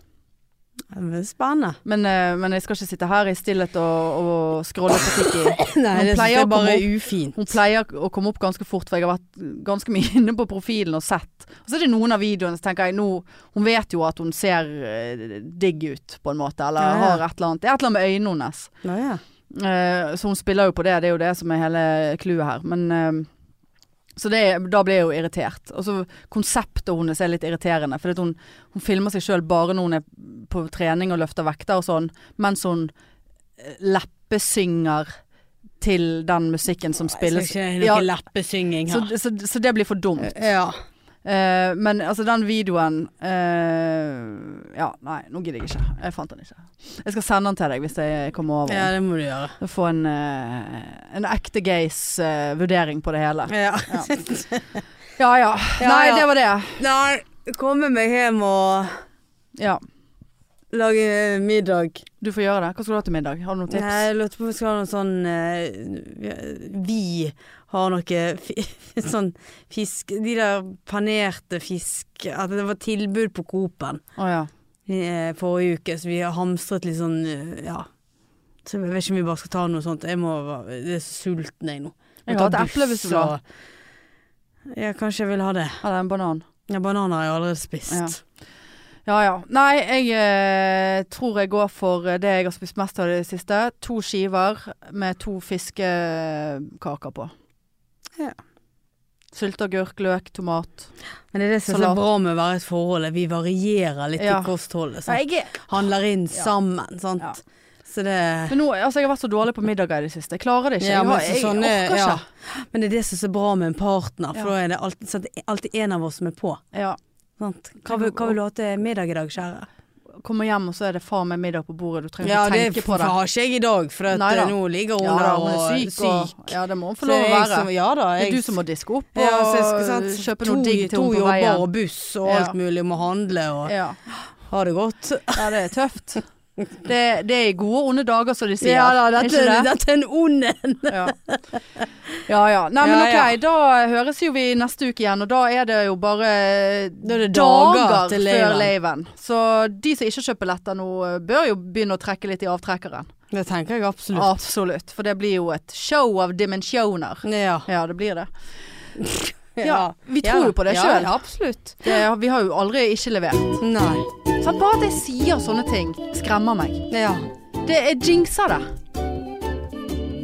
B: Ja, men Det er spennende.
A: Men, eh, men jeg skal ikke sitte her i stillhet og, og scrolle på tikket.
B: Nei,
A: Hun
B: det synes
A: pleier
B: jeg
A: å
B: bare
A: komme
B: er ufint.
A: Hun pleier å komme opp ganske fort, for jeg har vært ganske mye inne på profilen og sett. Og så er det noen av videoene så tenker jeg nå Hun vet jo at hun ser eh, digg ut, på en måte, eller
B: Ja, ja.
A: har et eller annet. Det er et eller annet med øynene hennes.
B: Ja, ja.
A: Eh, så hun spiller jo på det, det er jo det som er hele clouet her. Men eh, Så det, da ble jeg jo irritert. Og så konseptet hennes er litt irriterende. For hun, hun filmer seg sjøl bare når hun er på trening og løfter vekter og sånn, mens hun eh, leppesynger til den musikken som
B: Spiller ikke
A: spilles.
B: noe
A: Ja,
B: leppesynging
A: så,
B: her.
A: så, så det blir for dumt.
B: ja.
A: Eh, men altså, den videoen eh, Ja, nei, nå gidder jeg ikke. Jeg fant den ikke. Jeg skal sende den til deg hvis jeg kommer over. den.
B: ja, det må du gjøre.
A: Få en, eh, en ekte gays eh, vurdering på det hele.
B: Ja.
A: Ja ja.
B: Ja,
A: Nei,
B: ja.
A: det var det.
B: Nei, komme meg hjem og
A: Ja.
B: lage middag.
A: Du får gjøre det. Hva skal du ha til middag? Har du noen tips?
B: Nei, jeg lurte på om vi skal ha noe sånn eh, Vi har noe fi, sånn fisk De der panerte fisk At det var tilbud på Coop-en
A: Å ja.
B: eh, forrige uke, så vi har hamstret litt sånn eh, Ja. Så jeg vet ikke om vi bare skal ta noe sånt. Jeg må Jeg er så sulten jeg nå.
A: Jeg
B: må
A: har
B: ta
A: et eple hvis
B: buss
A: du vil ha.
B: og- Ja, kanskje jeg vil ha det.
A: Eller en banan.
B: Ja, bananer har jeg allerede spist.
A: Ja. Ja ja. Nei, jeg eh, tror jeg går for eh, det jeg har spist mest av i det siste. To skiver med to fiskekaker på.
B: Ja.
A: Sylteagurk, løk, tomat.
B: Men det er det som er så
A: Salat.
B: bra med å være i et forhold. er Vi varierer litt
A: Ja.
B: i kostholdet. sant?
A: Nei, jeg er
B: handler inn sammen, sant.
A: Ja.
B: Så det
A: Men nå, altså, jeg har vært så dårlig på middager i det siste. Jeg klarer det ikke.
B: Ja,
A: jeg,
B: men
A: har, jeg
B: sånn er-
A: orker ikke.
B: ja. Men det er det som er så bra med en partner, for
A: Ja.
B: da er det alltid, så det er alltid en av oss som er på.
A: Ja.
B: Sant? Hva, vil, hva vil du ha til middag i dag, kjære?
A: Kommer hjem, og så er det far med middag på bordet. Du trenger ikke tenke på det.
B: har ikke jeg i dag, for eh,
A: Nei da.
B: nå ligger
A: Ja, da, hun er altså, syk. Og, ja, det må hun få
B: Så
A: lov å
B: jeg
A: være.
B: som- ja da,
A: det
B: jeg,
A: er du som må diske opp og
B: ja, så jeg skal, sant,
A: kjøpe
B: to-
A: noe digg til
B: To
A: henne på
B: jobber
A: veien.
B: og buss og
A: Ja.
B: alt mulig, må handle og
A: Ja.
B: ha det godt.
A: ja, det er tøft. Det, det er i gode og onde dager, som de sier.
B: Ja da,
A: Er
B: dette,
A: ikke det?
B: dette er en ond en.
A: Ja. ja ja. Nei, men
B: Ja,
A: ok,
B: ja.
A: da høres jo vi neste uke igjen, og da er det jo bare
B: Da er det dager til laven.
A: før laven. Så de som ikke kjøper letter nå, bør jo begynne å trekke litt i avtrekkeren.
B: Det tenker jeg absolutt.
A: Absolutt. For det blir jo et show av dimensjoner.
B: Ja.
A: Ja, det blir det.
B: Ja.
A: Ja, vi
B: Ja
A: tror
B: da.
A: jo på det
B: Ja,
A: selv.
B: Ja, absolutt.
A: det. Vi har jo aldri ikke levert.
B: Nei.
A: Sant? Bare at jeg sier sånne ting, skremmer meg.
B: Ja.
A: Det er jinxa det.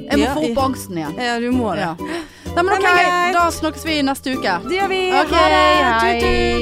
A: Jeg må
B: Ja,
A: få
B: i-
A: opp angsten igjen.
B: ja, du må det.
A: Ja. Nei, men
B: Nei,
A: ok,
B: men greit.
A: da snakkes vi neste uke.
B: Det gjør vi.
A: Ok,
B: ha det. Tut,
A: hei.
B: tut.